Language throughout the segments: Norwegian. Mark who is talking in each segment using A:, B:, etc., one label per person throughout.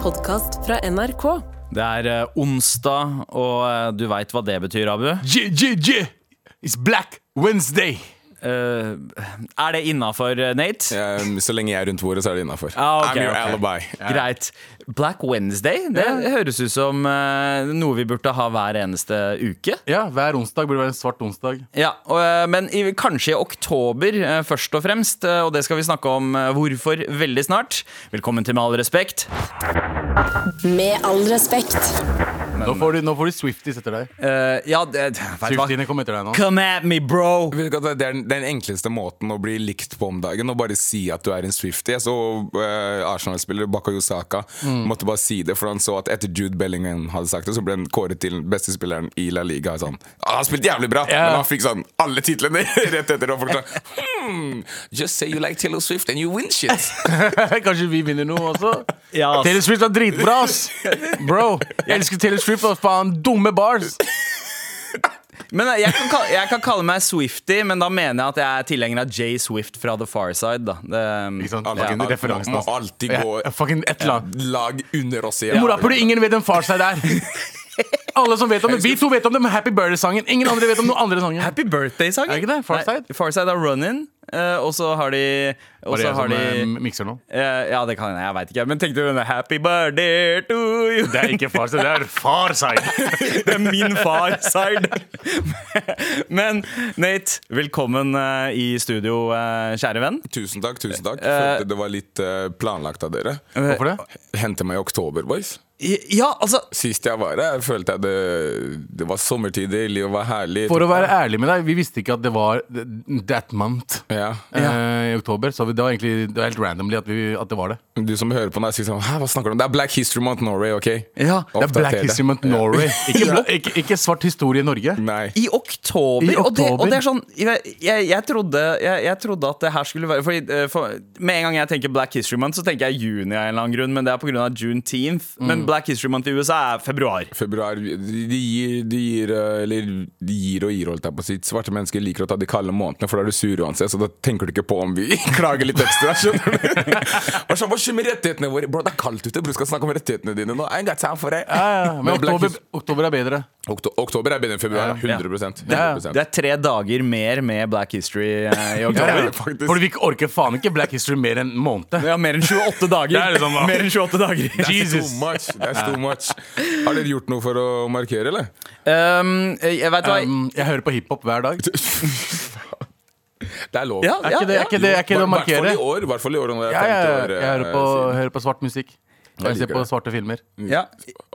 A: podkast fra NRK.
B: Det er eh, onsdag, og eh, du veit hva det betyr, Abu.
C: Yeah, yeah, yeah. It's Black Wednesday.
B: Eh, er det innafor, Nate?
D: Eh, Så lenge jeg er rundt bordet, så er det innafor.
B: Ah, ok,
D: I'm your
B: ok.
D: alibi.
B: Greit. Black Wednesday, det høres ut som eh, noe vi burde ha hver eneste uke.
C: Ja, hver onsdag burde være en svart onsdag.
B: Ja, og, eh, Men i, kanskje i oktober, eh, først og fremst. eh, Og det skal vi snakke om eh, hvorfor veldig snart. Velkommen til Med all respekt.
A: Med all respekt.
C: Nå får de, nå får de Swifties etter deg.
B: Eh, ja, det, vet du hva?
C: Swiftiene kommer etter deg nå.
B: Come at me, bro!
D: Vet du hva, Det er den, den enkleste måten å bli likt på om dagen. Å bare si at du er en Swifty. Jeg så eh, Arsenal-spiller Bakayo Saka
B: Mm.
D: måtte bare si det, for han så at etter Jude Bellingham hadde sagt det, så ble han kåret til den beste spilleren i La Liga. Sånn. «Ah, Han spilte jævlig bra, men han fikk sånn alle titlene rett etter. Og folk sånn hmm, Just say you like Taylor Swift and you win shit.
C: Kanskje vi vinner noe også?
B: Ja, ass.
C: Taylor Swift var dritbra, ass! Bro, jeg elsker Taylor Swift og faen dumme bars.
B: Men eh, jeg kan, kalle, jeg kan kalle meg Swifty, men da mener jeg at jeg er tilhenger av Jay Swift fra The Far Side. Da. Det,
C: Ikke sant?
D: Alle
C: Fucking
D: må-
B: altså.
D: må
C: referansen, ass.
D: alltid
C: Ja,
D: gå-
C: Fucking et eller annet.
D: Lag under oss igjen.
C: Morapuler, ingen vet hvem far seg er. Alle som vet om det, Vi to vet om det med Happy Birthday-sangen. Ingen andre vet om noen andre sangen.
B: Happy Birthday-sangen!
C: Er det ikke det? Far Side?
B: Nei, Far Side har Run-In, eh, og så har de, og
C: Bare
B: så
C: jeg
B: har
C: som
B: de
C: eh, mikser nå.
B: eh, Ja, det kan hende. Jeg veit ikke. Men tenkte du denne Happy Birthday to you?
C: Det er ikke far seg, det er far seg.
B: Det er min far side. Men Nate, velkommen eh, i studio, eh, kjære venn.
D: Tusen takk. tusen takk Følte det var litt eh, planlagt av dere.
C: Eh, Hvorfor det?
D: Hente meg i oktober, boys.
B: Ja, altså
D: Sist jeg var her, følte jeg det, det var sommertider, livet var herlig.
C: For å være ærlig med deg, vi visste ikke at det var th- that month
D: ja.
C: eh, i oktober. Så det var egentlig det var helt randomly at, vi, at det var det.
D: Du som hører på meg, sier sånn Hæ, hva snakker du om? Det er Black History Month Norway, OK?
B: ja,
C: Det er Black
D: Oppdater det.
C: History Month Norway. Ikke, bla- ikke, ikke svart historie i Norge.
D: Nei.
B: I oktober,
C: I
B: Og, det, og
C: oktober.
B: det er sånn jeg, jeg, jeg, trodde, jeg, jeg trodde at det her skulle være fordi, eh, for, Med en gang jeg tenker Black History Month Så tenker jeg juni av en eller annen grunn Men det er på grunn av Juneteenth Men Black History Month i USA er februar
D: Februar de de gir, de gir eh, Eller de gir og gir, holdt jeg på å si. Svarte mennesker liker å ta de kalde månedene, for da er du sur uansett, så da tenker du ikke på om vi klager litt ekstra. Skjønner du? Og så, Hva skjer med rettighetene våre? Bro, det er kaldt ute, bro. Skal snakke om rettighetene dine nå? I ain't got time for it.
C: Ja, ja, Men
D: Men Black
C: oktober,
D: His-
C: oktober er bedre.
D: Okto oktober er bedre enn februar.
B: Ja.
D: 100, 100%.
C: Ja, ja.
B: Det er tre dager mer med Black History eh, i oktober
D: Faktisk.
C: Fordi vi ikke orker faen ikke Black History mer enn en måned.
B: Ja, mer enn 28 dager
C: Det er liksom, hva?
B: Mer enn 28 dager
C: Jesus.
D: Too much. That's too much. Har dere gjort noe for å markere, eller?
B: um, Jeg vet hva
C: Um, jeg hører på hiphop hver dag.
D: Det er lov.
B: Ja,
C: Er ikke det, er ikke det, er ikke det å
D: I
C: markere?
D: hvert fall i år. i hvert fall i år når det er
C: Ja, ja,
D: 50 år,
C: jeg
D: eh,
C: hører på,
D: siden.
C: hører på svart musikk. Og jeg ser
D: liker
C: på
D: det.
C: svarte filmer.
B: ja.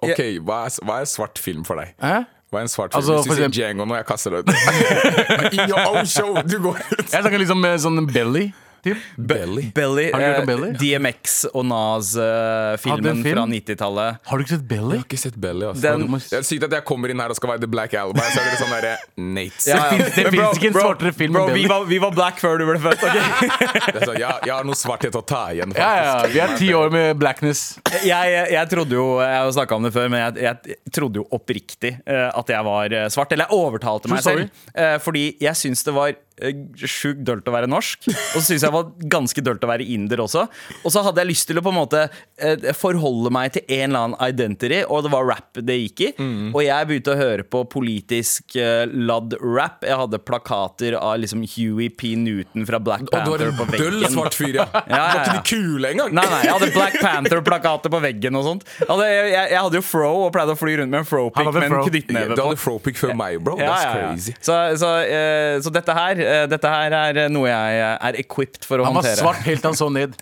D: Ok, hva er, hva er svart film for deg?
C: Hæ?
D: Hva er en svart film?
C: Altså,
D: Hvis
C: for
D: du sier
C: eksempel-
D: Django nå, jeg kaster deg ut. In your own show! Du går ut.
C: Jeg snakker liksom med sånn belly. Typ.
D: Belly.
B: Belly,
C: Har du hørt om
B: eh,
C: Belly?
B: DMX og
C: Hadde en
B: Nas-filmen
C: film?
B: fra 90-tallet
C: Har du ikke sett belly?
D: Jeg har ikke sett Belly, altså.
B: Den-
D: Det er sykt at jeg kommer inn her og skal være The Black Alibi, så er dere sånn derre Nate.
B: Ja, ja.
C: Det finnes- det
B: Men
C: finnes
B: bro,
C: ikke en
B: bro,
C: svartere film enn
B: bro, vi
C: Belly.
B: var, vi var black før du ble født. ok?
D: Det er sånn, ja, jeg har noe svarthet å ta igjen, faktisk.
C: Ja, ja, Vi er ti år med blackness.
B: Jeg, jeg, jeg trodde jo Jeg har jo snakka om det før, men jeg, jeg trodde jo oppriktig eh, at jeg var eh, svart. Eller jeg overtalte meg
C: True
B: selv. eh, fordi jeg syns det var eh, sjukt dølt å være norsk. Og så syns jeg det var ganske dølt å være inder også. Og så hadde jeg lyst til å på en måte eh, forholde meg til en eller annen identity, og det var rap det gikk i.
D: Mm.
B: Og jeg begynte å høre på politisk eh, ladd rap. Jeg hadde plakater av liksom Huey P. Newton fra Black
D: Og du er
B: Panther på
D: en
B: veggen.
D: døll svart fyr, ja. Du
B: ja,
D: var ikke
B: ja.
D: de kule engang.
B: Nei, nei, jeg hadde Black Panther-plakater på veggen og sånt. Jeg hadde, jeg, jeg hadde jo fro og pleide å fly rundt med en fro-pick
C: Han hadde
B: med en
C: fro.
B: knyttneve
D: Du
B: på.
D: hadde fropic før meg, bro.
B: Ja,
D: That's
B: ja, ja.
D: crazy.
B: Så, så, eh, så dette her eh, Dette her er eh, noe jeg eh, er equipped for å
C: Han var
B: håndtere.
C: svart helt til han så ned.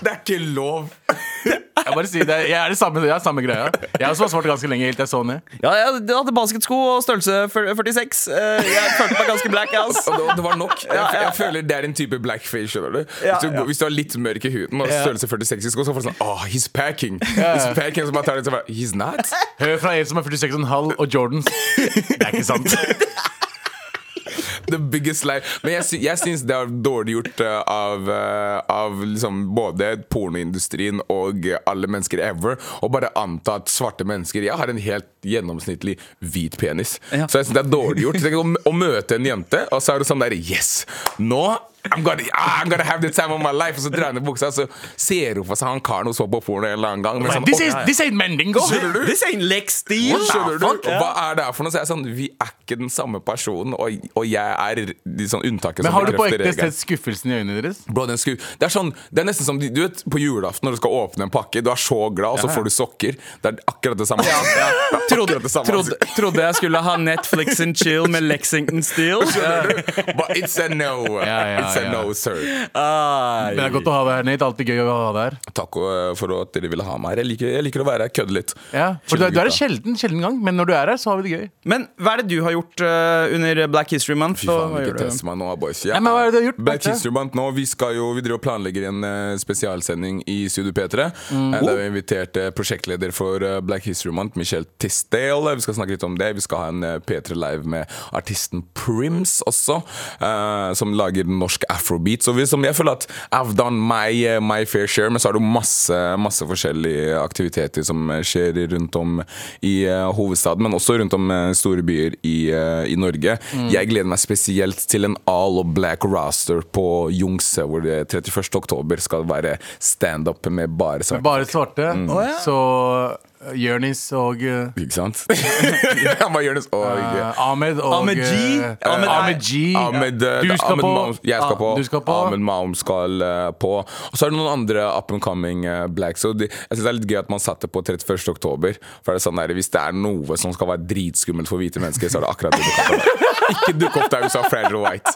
D: Det er ikke lov!
C: Jeg bare sier det, jeg er det samme, jeg er samme greia. Jeg også var svart ganske lenge helt til jeg så ned.
B: Ja, jeg hadde- jeg hadde basketsko og størrelse fyr- 46. Eh, Jeg følte meg ganske black, ass.
D: Og det, det var nok. Jeg, jeg føler det er en type blackface. skjønner du
B: Ja,
D: Hvis du,
B: ja.
D: hvis du har litt mørk i huden og størrelse 46 i sko, så får du sånn Ah, he's packing! He's packing Så bare tar det tilbake. He's not?
C: Hør fra en som er 46,5 og Jordans. Det er ikke sant.
D: The biggest lie. Men jeg, sy jeg syns det er dårlig gjort eh, av, eh, av liksom både pornoindustrien og eh, alle mennesker ever å bare anta at svarte mennesker Jeg har en helt gjennomsnittlig hvit penis.
B: Ja.
D: Så jeg syns det er dårlig gjort. Tenk å, å møte en jente, og så er det sånn der Yes! Nå I'm gonna, ah, I'm gonna have the time of my life! Og så drar han i buksa, og så ser hun for seg han karen hun så på porno en eller annen gang. men sånn,
C: This,
D: «Å,
C: is, this ain't Mendingo!
D: Skjønner du?
B: This ain't Lex Steel!
D: Skjønner du?
B: Ja.
D: Hva er det her for noe? Så jeg er sånn, Vi er ikke den samme personen, og, og jeg er de sånn unntaket
C: Men
D: som
C: har du på
D: bekrefter
C: ekte
D: regelen.
C: sett skuffelsen i øynene deres?
D: Bro, den skulle, det, er sånn, det er nesten som de, du vet, på julaften når du skal åpne en pakke. Du er så glad, og så får du sokker. Det er akkurat det samme. Det er
B: Trodde,
D: akkurat det samme.
B: trodde, trodde jeg skulle ha Netflix and chill med Lexington Steel.
D: But it's a no.
C: ja,
D: it's a
C: ja.
D: no, sir.
B: Eh, Ai.
C: Men det er godt å ha deg her, Nate. Alltid gøy å ha deg her.
D: Takk eh, for at dere ville ha meg her. Jeg liker, jeg liker å være her, kødde litt.
C: Ja. For du, er- du er her
D: Chille gutta.
C: sjelden, sjelden gang, men når du er her, så har vi det gøy.
B: Men hva er det du har gjort eh, under Black History Month?
D: Fy
B: og
D: faen,
B: hva gjør
D: ikke
B: du?
D: test meg nå, boys. Ja.
C: Nei, men hva er det du har gjort,
D: Black
C: Marte?
D: History Month nå. Vi, skal jo, vi driver og planlegger en eh, spesialsending i Studio P3.
C: Mm.
D: eh, Der vi inviterte prosjektleder for eh, Black History Month, Michelle Tisdale. Vi skal snakke litt om det. Vi skal ha en eh, P3 Live med artisten Prims også, eh, som lager norsk afrobeat. Så vi, som jeg føler at I've done my, eh, my fair share, men så er det jo masse, masse forskjellige aktiviteter som eh, skjer rundt om i eh, hovedstaden, men også rundt om eh, store byer i, eh, i Norge. Jeg gleder meg spesielt til en all of black raster på Jungse, hvor det 31. oktober skal være standup med bare svarte.
C: Bare svarte.
D: Mm.
C: Så uh, Jonis og uh,
D: Ikke sant? Han bare gjør det så-
C: uh, Ahmed og
B: Ahmed G?
C: uh,
B: Ahmed-
C: Ahmed G.
D: Ahmed, eh,
C: Du skal
D: Ahmed
C: på.
D: Maum, jeg skal
C: Ah,
D: på.
C: du skal på.
D: Ahmed Maum skal eh, på. Og så er det noen andre up and coming eh, blacks. Og de, jeg synes det er litt gøy at man satte på 31. oktober. For det er sånn der, hvis det er noe som skal være dritskummelt for hvite mennesker, så er det akkurat det. du kan gjøre. Ikke dukk opp der du sa Fragile White.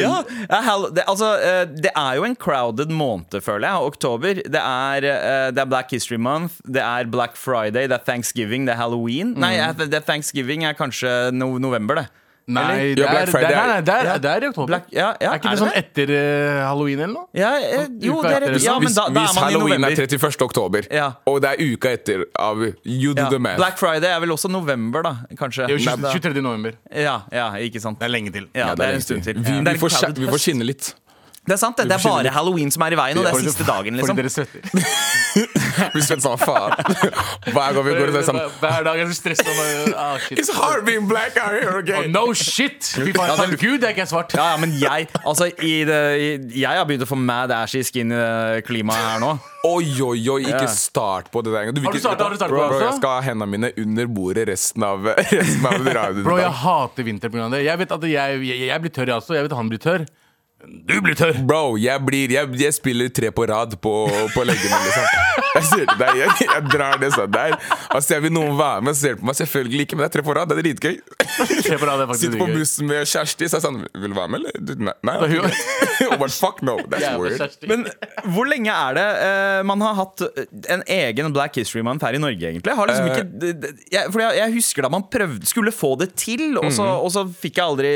B: Ja, ja, hell- det, altså, eh, det er jo en crowded måned, føler jeg. Oktober. Det er, eh, det er Black History Month, det er Black Friday, det er Thanksgiving, det er Halloween. Nei, eh, det er Thanksgiving er kanskje no november, det.
C: Nei,
B: Eller?
C: det
D: Ja, Black
C: er, det er,
D: Friday.
C: nei, nei, det er,
B: Ja.
C: det er i oktober.
B: Black- ja, ja,
C: er ikke
B: er
C: det,
B: det
C: sånn etter eh, halloween eller noe?
B: Ja, eh, jo,
C: Uka
B: det er,
C: etter,
B: ja, men
D: hvis
B: da, da
D: hvis
B: er man i
D: halloween er
B: november.
D: 31. oktober,
B: Ja.
D: og det er uka etter av You do
B: Ja.
D: the man.
B: Black Friday er vel også november, da, kanskje.
C: Det er jo
B: Nei,
C: 20
B: da-
C: 23. november.
B: ja, ja, ikke sant.
C: Det er lenge til.
B: Ja,
D: Ja,
B: det er en
D: riktig.
B: stund til.
D: Vi,
B: Ja. Det er
D: vi,
B: en
D: får,
B: crowded
D: skje- vi får
B: fest.
D: skinne litt.
B: Det er sant, det. Det er
C: får
B: bare halloween som er i veien, og det er
C: Fordi-
B: siste dagen,
C: Fordi
B: liksom.
C: dere svetter.
D: Vi skal sånn, faen. Hver gang vi går ut, så er det sånn
C: Hver dag er det stress. om, eh, ah, shit.
D: It's hard being black out here, okay?
C: Oh, no shit! Fy faen,
B: Ja, det-
C: takk Gud, det er ikke jeg svart.
B: Ja, ja, men jeg Altså, i det, i, jeg har begynt å få mad ashy skin i det klimaet her nå.
D: Oi, oi, oi,
B: Ja.
D: ikke start på det der engang.
C: Har du startet- har du startet på det
D: Bro,
C: også?
D: jeg skal ha hendene mine under bordet resten av, resten av radioen.
C: Bro, jeg hater vinter pga. det. Jeg vet at jeg, jeg, jeg blir tørr, jeg også. Jeg vet at han blir tørr. Du blir tørr!
D: Bro, jeg blir Jeg, jeg spiller tre på rad på, på leggene, liksom. Jeg sier til deg, jeg, jeg drar det sånn der. Altså, jeg vil noen være med, så ser du på meg. Selvfølgelig ikke, men det er tre på rad, det er dritgøy.
C: Se på deg, det er faktisk
D: Sitter på
C: gøy.
D: bussen med Kjersti, så er jeg sånn Vil du være med, eller? Du, Nei. nei
C: Da hun-
D: ok. Hun bare, fuck no, that's
C: Jævla
D: weird.
C: Kjersti.
B: Men hvor lenge er det eh, man har hatt en egen Black History Month her i Norge, egentlig? Har liksom ikke, det- det- jeg, fordi jeg, jeg husker da man prøvde, skulle få det til, og så, og så fikk jeg aldri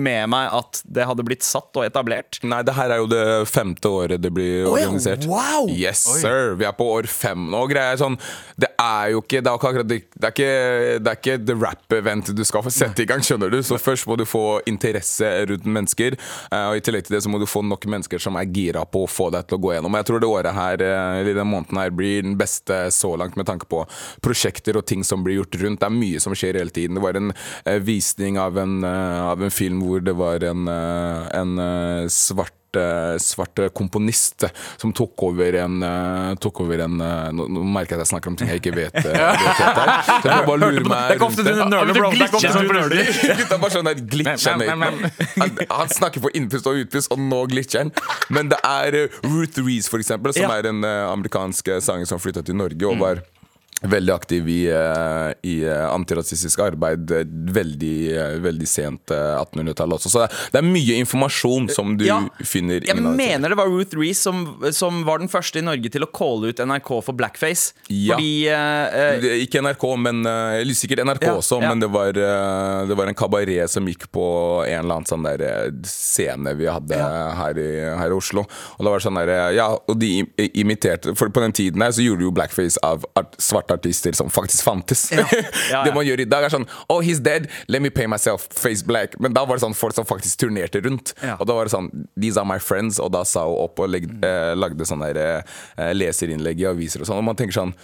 B: med meg at det hadde blitt satt og etablert.
D: Nei, det her er jo det femte året det blir
B: Å ja,
D: organisert.
B: wow!
D: Yes, sir! Vi er på år fem nå. og Greier sånn Det er jo ikke Det er, jo ikke akkurat, det, det er, ikke, det er ikke the rap-event du skal få sette i gang, skjønner du. Så først må du få interesse rundt mennesker, eh, og i tillegg til det så må du få nok mennesker som er gira på å få deg til å gå gjennom. Jeg tror det året her, eh, eller den måneden her, blir den beste så langt med tanke på prosjekter og ting som blir gjort rundt. Det er mye som skjer hele tiden. Det var en eh, visning av en, eh, av en film hvor det var en, eh, en eh, svart eh, svart eh, komponist eh, som tok over en eh, Tok over en eh, nå, nå merker jeg at jeg snakker om ting jeg ikke vet. eh, vet helt her. Så jeg må bare
B: Det
D: lure meg
B: er ikke ofte du
D: rundt det.
C: Ja, men
B: nøler,
C: det
B: bro. Det er ikke
C: glitcher
B: ofte
C: sånn
B: du nøler.
C: plutselig.
D: Gutta bare sånn der glitcher
C: Nei, nei, nei, nei.
D: Han, han snakker på innpust og utpust, og nå glitcher han. Men det er eh, Ruth Reece, for eksempel, som
B: Ja. Mm.
D: er en eh, amerikansk eh, sanger som flytta til Norge og var Veldig aktiv i, eh, i eh, antirasistisk arbeid eh, veldig, eh, veldig sent eh, 1800-tallet også. Så det er- det er mye informasjon som du
B: Ja.
D: finner
B: Jeg
D: av disse.
B: mener det var Ruth Reece som, som var den første i Norge til å calle ut NRK for blackface.
D: Ja.
B: Fordi eh, eh,
D: Det- Ikke NRK, men eh, eller sikkert NRK
B: Ja,
D: også,
B: ja.
D: men det var, eh, det var en kabaret som gikk på en eller annen sånn der eh, scene vi hadde her, i, her i Oslo. Og det var sånn der, eh, ja, og de im- imiterte For på den tiden her så gjorde de jo blackface av art, svarte artister som faktisk fantes.
B: ja.
D: det man gjør i dag, er sånn Oh, he's dead, let me pay myself, face black. Men da var det sånn folk som faktisk turnerte rundt.
B: Ja.
D: Og da var det sånn These are my friends.
B: Mm.
D: Og da sa hun opp og legg, eh, lagde sånne der, eh, leserinnlegg i aviser og sånn. Og man tenker sånn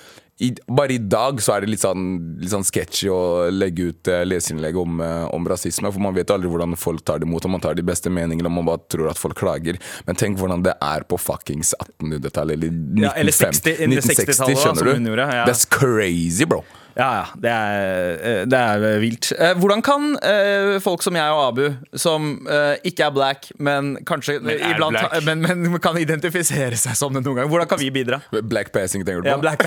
D: i, bare i dag så er det litt sånn, litt sånn sketchy å legge ut eh, leserinnlegg om, eh, om rasisme. For man vet aldri hvordan folk tar det imot, om man tar de beste meningene, om man bare tror at folk klager. Men tenk hvordan det er på fuckings 1800-tallet eller 1950.
B: Ja, eller 60 eller 60-tallet, da, som
D: skjønner
B: hun
D: du?
B: gjorde, ja.
D: That's crazy, bro.
B: Ja, ja. Det er, eh, det er vilt. Eh, Hvordan kan eh, folk som jeg og Abu, som eh, ikke er black, men kanskje
C: er
B: iblant
C: black.
B: Men, men kan identifisere seg som det noen gang, hvordan kan vi bidra?
D: Black passing, tenker du på?
B: Ja, black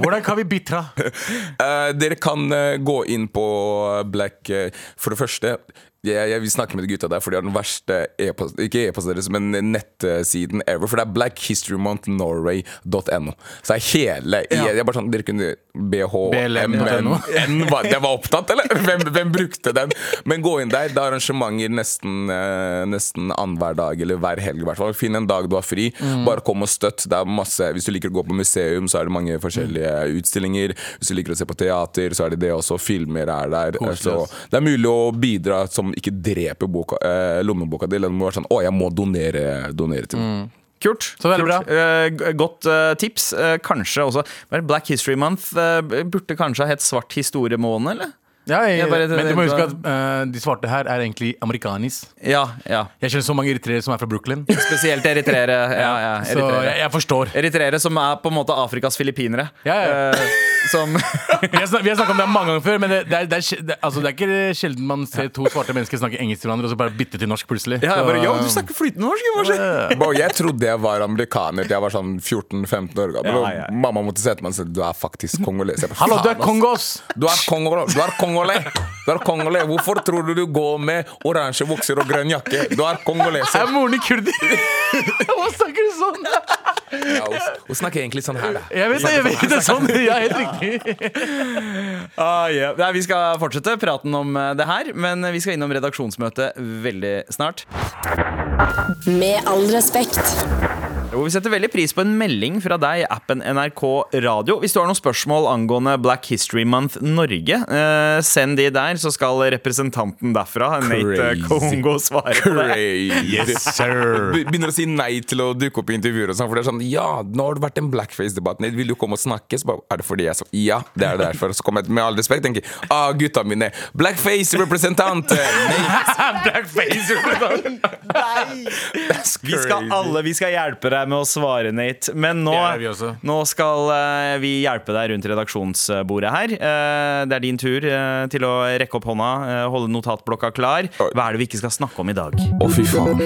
C: Hvordan kan vi bidra?
D: Eh, dere kan eh, gå inn på Black eh, For det første, jeg, jeg vil snakke med de gutta der, for de har den verste e-post Ikke e-posten deres, men nettsiden ever. For det er blackhistorymonthnorway.no. Så det er hele
B: Ja.
D: jeg, jeg er bare sånn, Dere kunne
C: BLM.no.
D: BHMN var- Den var opptatt, eller? Hvem, hvem brukte den? Men gå inn der. Det er arrangementer nesten, eh, nesten annenhver dag, eller hver helg i hvert fall. Finn en dag du har fri. Bare kom og støtt. Det er masse, hvis du liker å gå på museum, så er det mange forskjellige utstillinger. Hvis du liker å se på teater, så er det det også. Filmer er der. Eh, Så det er mulig å bidra som ikke dreper boka, eh, lommeboka di. Eller du må være sånn Å, jeg må donere, donere til noen.
B: Kult.
C: Så veldig bra.
B: Kult. Eh, g- godt eh, tips. Eh, kanskje også men Black History Month eh, burde kanskje ha hett Svart historiemåned, eller?
C: Ja, jeg,
B: Jeg bare-
C: men du må huske at eh, de svarte her er egentlig amerikanis.
B: Ja, ja.
C: Jeg kjenner så mange eritreere som er fra Brooklyn.
B: Spesielt eritreere. Ja, ja,
C: Så jeg,
B: eritreere.
C: jeg forstår.
B: eritreere som er på en måte Afrikas filippinere.
C: Ja, ja.
B: Eh, som
C: Vi har snak- vi har snakket om det mange ganger før, men det, det, er, det, er, sj- det, altså, det er ikke sjelden man ser to svarte mennesker snakke engelsk til hverandre, og så bare bytte til norsk plutselig.
B: ja, jeg bare,
C: Så-
B: Yo, du snakker flytende norsk! jo, Hva skjer?
D: Bro, jeg trodde jeg var amerikaner til jeg var sånn 14-15 år
B: Ja,
D: gammel. og
B: ja.
D: Mamma måtte sette meg og si du er faktisk kongoles. Jeg bare,
C: Hallo, du er
D: "Faen, ass."
C: kongos!
D: Du er kongole. Du er kongole. Du er kongole. Hvorfor tror du du går med oransje bukser og grønn jakke? Du er kongoleser.
C: Er moren din kurder? Hva snakker du sånn?
D: Ja, hun, hun snakker egentlig sånn her, da.
C: Jeg vet det, jeg vet det er sånn. Ja, helt riktig.
B: Ah, yeah. Nei, vi skal fortsette praten om eh, det her, men vi skal innom redaksjonsmøte veldig snart.
A: Med all respekt.
B: Hvor vi setter veldig pris på en melding fra deg i appen NRK Radio. Hvis du har noen spørsmål angående Black History Month Norge, eh, send de der, så skal representanten derfra, Nate eh,
D: Crazy.
B: Kongo, svare på det.
D: Yes, sir. Begynner å si nei til å dukke opp i intervjuer. og sånn For det er sånn, ja, nå har det vært en blackface-debatt. Nei, Vil du komme og snakke? Så bare, er det fordi jeg sa ja? Det er derfor. Så kommer jeg med all respekt tenker ah, gutta mine, blackface-representant! Nei,
B: Vi skal alle vi skal hjelpe deg med å svare, Nate. Men nå,
C: Det er vi også.
B: nå skal eh, vi hjelpe deg rundt redaksjonsbordet her. Eh, det er din tur eh, til å rekke opp hånda, eh, holde notatblokka klar. Hva er det vi ikke skal snakke om i dag?
D: Å, fy faen.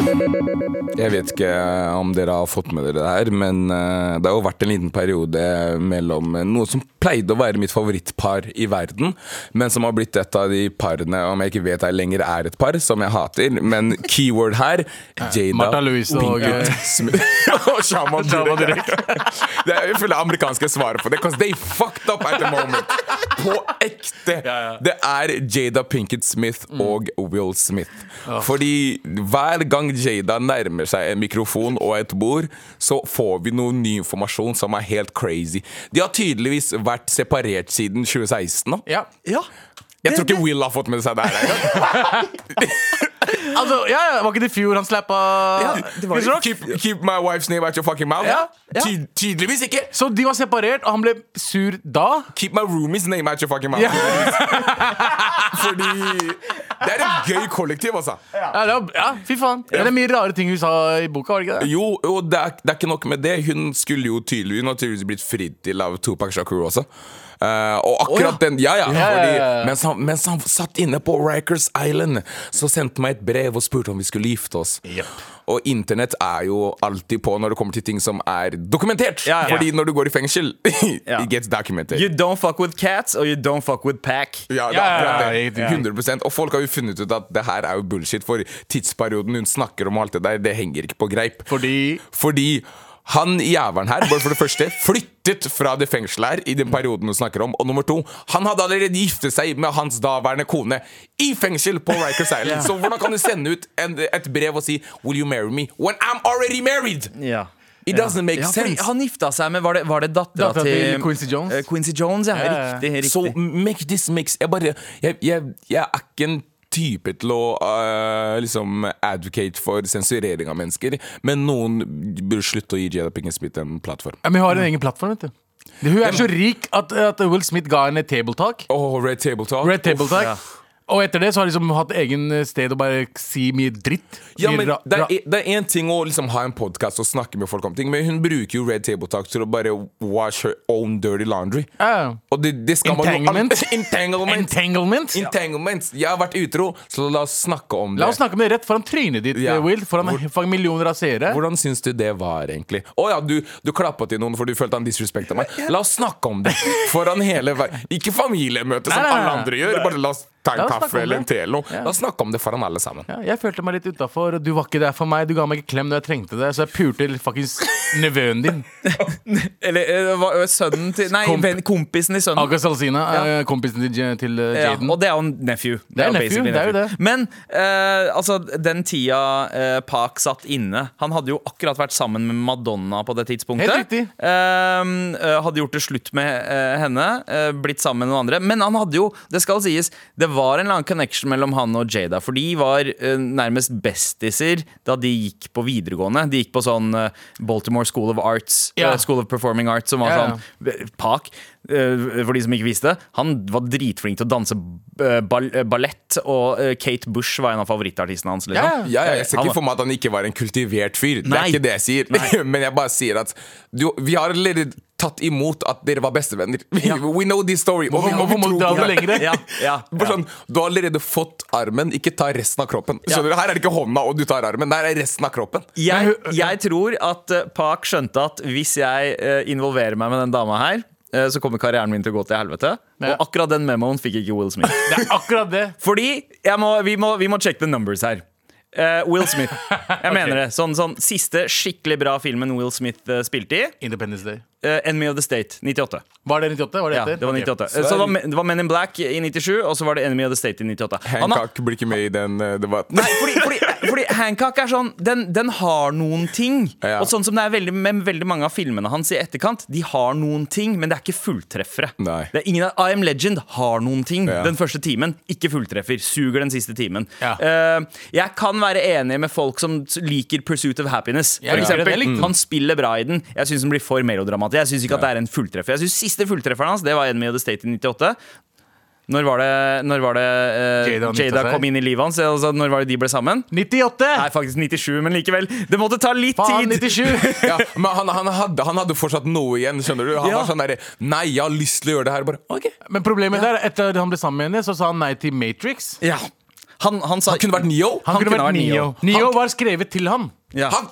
D: Jeg vet ikke eh, om dere har fått med dere det her, men eh, det har jo vært en liten periode mellom eh, noe som pleide å være mitt favorittpar i verden, men som har blitt et av de parene, om jeg ikke vet jeg lenger er et par, som jeg hater. Men keyword her Jada
C: Eh, Martha Louise og- eh,
D: Pinkett Smith. og Shaman Durek. Det er jo fulle amerikanske svaret på det, because they fucked up at the moment. På ekte. Det er Jada Pinkett Smith og Will Smith. Fordi hver gang Jada nærmer seg en mikrofon og et bord, så får vi noe ny informasjon som er helt crazy. De har tydeligvis vært separert siden 2016 nå.
C: Ja.
B: Ja,
D: Jeg tror ikke Will har fått med seg det her. engang.
C: Altså, ja, ja, var ikke det i fjor han slappa Chris Rock?
D: Keep, keep my wife's name out your fucking mouth.
C: Ja, ja.
D: Ty tydeligvis ikke.
C: Så de var separert, og han ble sur da?
D: Keep my roomies name out your fucking mouth.
C: Ja.
D: Fordi det er et gøy kollektiv, altså.
C: Ja, det var, ja fy faen. Ja, det er mye rare ting hun sa i boka, var det ikke det?
D: Jo, og det er, det er ikke nok med det. Hun skulle jo tydelig, hun har tydeligvis blitt fridd til av Tupac Shakur også. Eh, og akkurat
C: Å, ja.
D: den Ja, ja.
C: Ja, ja, ja, ja.
D: Fordi, mens, han, mens han satt inne på Rikers Island, så sendte han meg et brev og spurte om vi skulle gifte oss.
C: Jep.
D: Og internett er jo alltid på når det kommer til ting som er dokumentert.
B: Ja, ja.
D: Fordi når du går i fengsel,
B: Ja.
D: it gets documented.
B: You don't fuck with cats, og you don't fuck with pack.
D: Ja, det er
C: Ja, ja,
D: akkurat
C: ja,
D: det.
C: ja, ja.
D: 100 Og folk har jo funnet ut at det her er jo bullshit, for tidsperioden hun snakker om og alt det der, det henger ikke på greip.
C: Fordi
D: Fordi han jævelen her, bare for det første, flyttet fra det fengselet her i den perioden hun snakker om. Og nummer to, han hadde allerede giftet seg med hans daværende kone i fengsel på Rikers Island. Så hvordan kan du sende ut en, et brev og si 'Will you marry me?' when I'm already married?
B: Ja.
D: It doesn't make
B: Ja, fordi
D: sense.
B: han gifta seg med Var det, var det dattera
C: Dattera
B: til,
C: til Quincy Jones?
B: Eh, Quincy Jones, ja.
C: ja, ja.
B: Riktig. riktig.
D: So make this makes Jeg bare Jeg, jeg, jeg er ikke en type til å eh, liksom advocate for sensurering av mennesker, men noen burde slutte å gi Jada Pinkett Smith en plattform.
C: ja, men Hun har en egen plattform, vet du. Hun er så rik at, at Will Smith ga henne table talk.
D: Åh, Red Table Talk.
C: Red table
D: Uff.
C: talk.
B: ja.
C: Og etter det så har de liksom hatt egen sted å bare si mye dritt.
D: Ja,
C: Mye
D: men
C: ra-
D: det
C: ra-
D: er- e- det er én ting å liksom ha en podkast og snakke med folk om ting, men hun bruker jo Red Table Talk til å bare wash her own dirty laundry.
C: Ja.
D: Og det, det skal man
C: Entanglement.
D: jo Entanglement.
C: Entanglement.
D: Entanglement. Jeg har vært utro, så la oss snakke om det.
C: La oss snakke med det rett foran trynet ditt,
D: Ja.
C: eh, Will. Foran foran millioner av seere.
D: Hvordan syns du det var, egentlig? Å ja, du, du klappa til noen fordi du følte han disrespekta meg. La oss snakke om det foran hele verden. Ikke familiemøte som
C: Nei, nei, nei.
D: alle andre gjør. Bare la oss ta en
C: La oss snakke om
D: kaffe eller en
C: det.
D: te eller noe. La oss snakke om det foran alle sammen.
C: Ja, jeg følte meg litt utafor, og du var ikke der for meg. Du ga meg ikke klem når jeg trengte det, så jeg pulte fuckings nevøen din.
B: Eller eh, hva- eh, sønnen til Nei,
C: Komp-
B: ven- kompisen i sønnen.
C: Aga Salsina, eh, kompisen til, J- til eh,
B: Ja,
C: Jaden.
B: og det er jo en nephew. Det
C: er nephew,
B: basically
C: det er jo
B: nephew.
C: det.
B: Men eh, altså, den tida eh, Park satt inne Han hadde jo akkurat vært sammen med Madonna på det tidspunktet.
C: Helt riktig.
B: Ehm, eh, hadde gjort det slutt med eh, henne, eh, blitt sammen med noen andre. Men han hadde jo, det skal sies, det var en eller annen connection mellom han og Jada. For de var eh, nærmest bestiser da de gikk på videregående. De gikk på sånn eh, Baltimore School of Arts,
C: Ja.
B: eh, School of Performing Arts, som var
C: Ja, ja.
B: sånn Pak, eh, for de som ikke visste det, han var dritflink til å danse eh, ball- eh, ballett, og eh, Kate Bush var en av favorittartistene hans.
C: Ja,
B: Liksom.
D: Ja, ja, jeg ser
B: Han
D: ikke
B: var-
D: for meg at han ikke var en kultivert fyr. Det
B: Nei.
D: er ikke det jeg sier. Men jeg bare sier at du, vi har allerede tatt imot at dere var bestevenner.
B: Ja.
D: We know this story. og vi- og vi
C: Hvorfor må
D: tror
C: du dra
D: på
C: det
D: det.
C: lenger?
B: Ja, ja,
D: Bare
B: ja.
D: sånn, du har allerede fått armen, ikke ta resten av kroppen. Skjønner du? Her er det ikke hånda og du tar armen. Her er resten av kroppen.
B: Jeg, jeg tror at eh, Park skjønte at hvis jeg eh, involverer meg med den dama her, eh, så kommer karrieren min til å gå til helvete.
C: Ja.
B: Og akkurat den memoen fikk ikke Will Smith.
C: Det er akkurat det.
B: Fordi jeg må, vi, må, vi må check the numbers her. Eh, Will Smith. Jeg mener det. Sånn, sånn siste skikkelig bra filmen Will Smith eh, spilte i.
C: Independence Day.
B: eh, Enemy of the State, 98.
C: Var det 98? Var det
B: Ja,
C: etter?
B: det var
C: Ok.
B: 98 Så det var, Men- det var Men in Black i 97, og så var det Enemy of the State i 98. Han har-
D: Hancock blir ikke med i den eh, debatten.
B: Nei, fordi, fordi, fordi Hancock er sånn Den, den har noen ting.
D: Ja.
B: Og sånn som det er veldig, med veldig mange av filmene hans i etterkant, de har noen ting, men det er ikke fulltreffere.
D: Nei.
B: Det er ingen av I Am Legend har noen ting
D: Ja.
B: den første timen. Ikke fulltreffer. Suger den siste timen.
C: Ja.
B: Eh, jeg kan være enig med folk som s- liker Pursuit of Happiness.
C: Jeg
B: For
C: liker den, jeg
B: eksempel,
C: likte
D: Mm.
C: den.
B: han spiller bra i den. Jeg syns den blir for melodramatisk. Jeg syns ikke at det er en fulltreffer. Jeg synes Siste fulltrefferen hans Det var Enemy of the State i 98. Når var det, når var det eh,
C: Jada og
B: Jada
C: 96?
B: kom inn i livet hans? Altså, når var det de ble sammen?
C: 98!
B: Nei, faktisk 97, men likevel. Det måtte ta litt
C: Faen,
B: tid.
C: 97!
D: Ja, men han, han, hadde, han hadde fortsatt noe igjen, skjønner du? Han
B: Ja.
D: var sånn derre Nei, jeg har lyst til å gjøre det her. Bare, ok
C: Men problemet der, etter at han ble sammen med henne, så sa han nei til Matrix.
B: Ja. Han, han sa
D: Han kunne vært Neo.
C: Han, kunne vært Neo. Neo
D: Han-
C: var skrevet til ham.
B: Ja.
D: Han,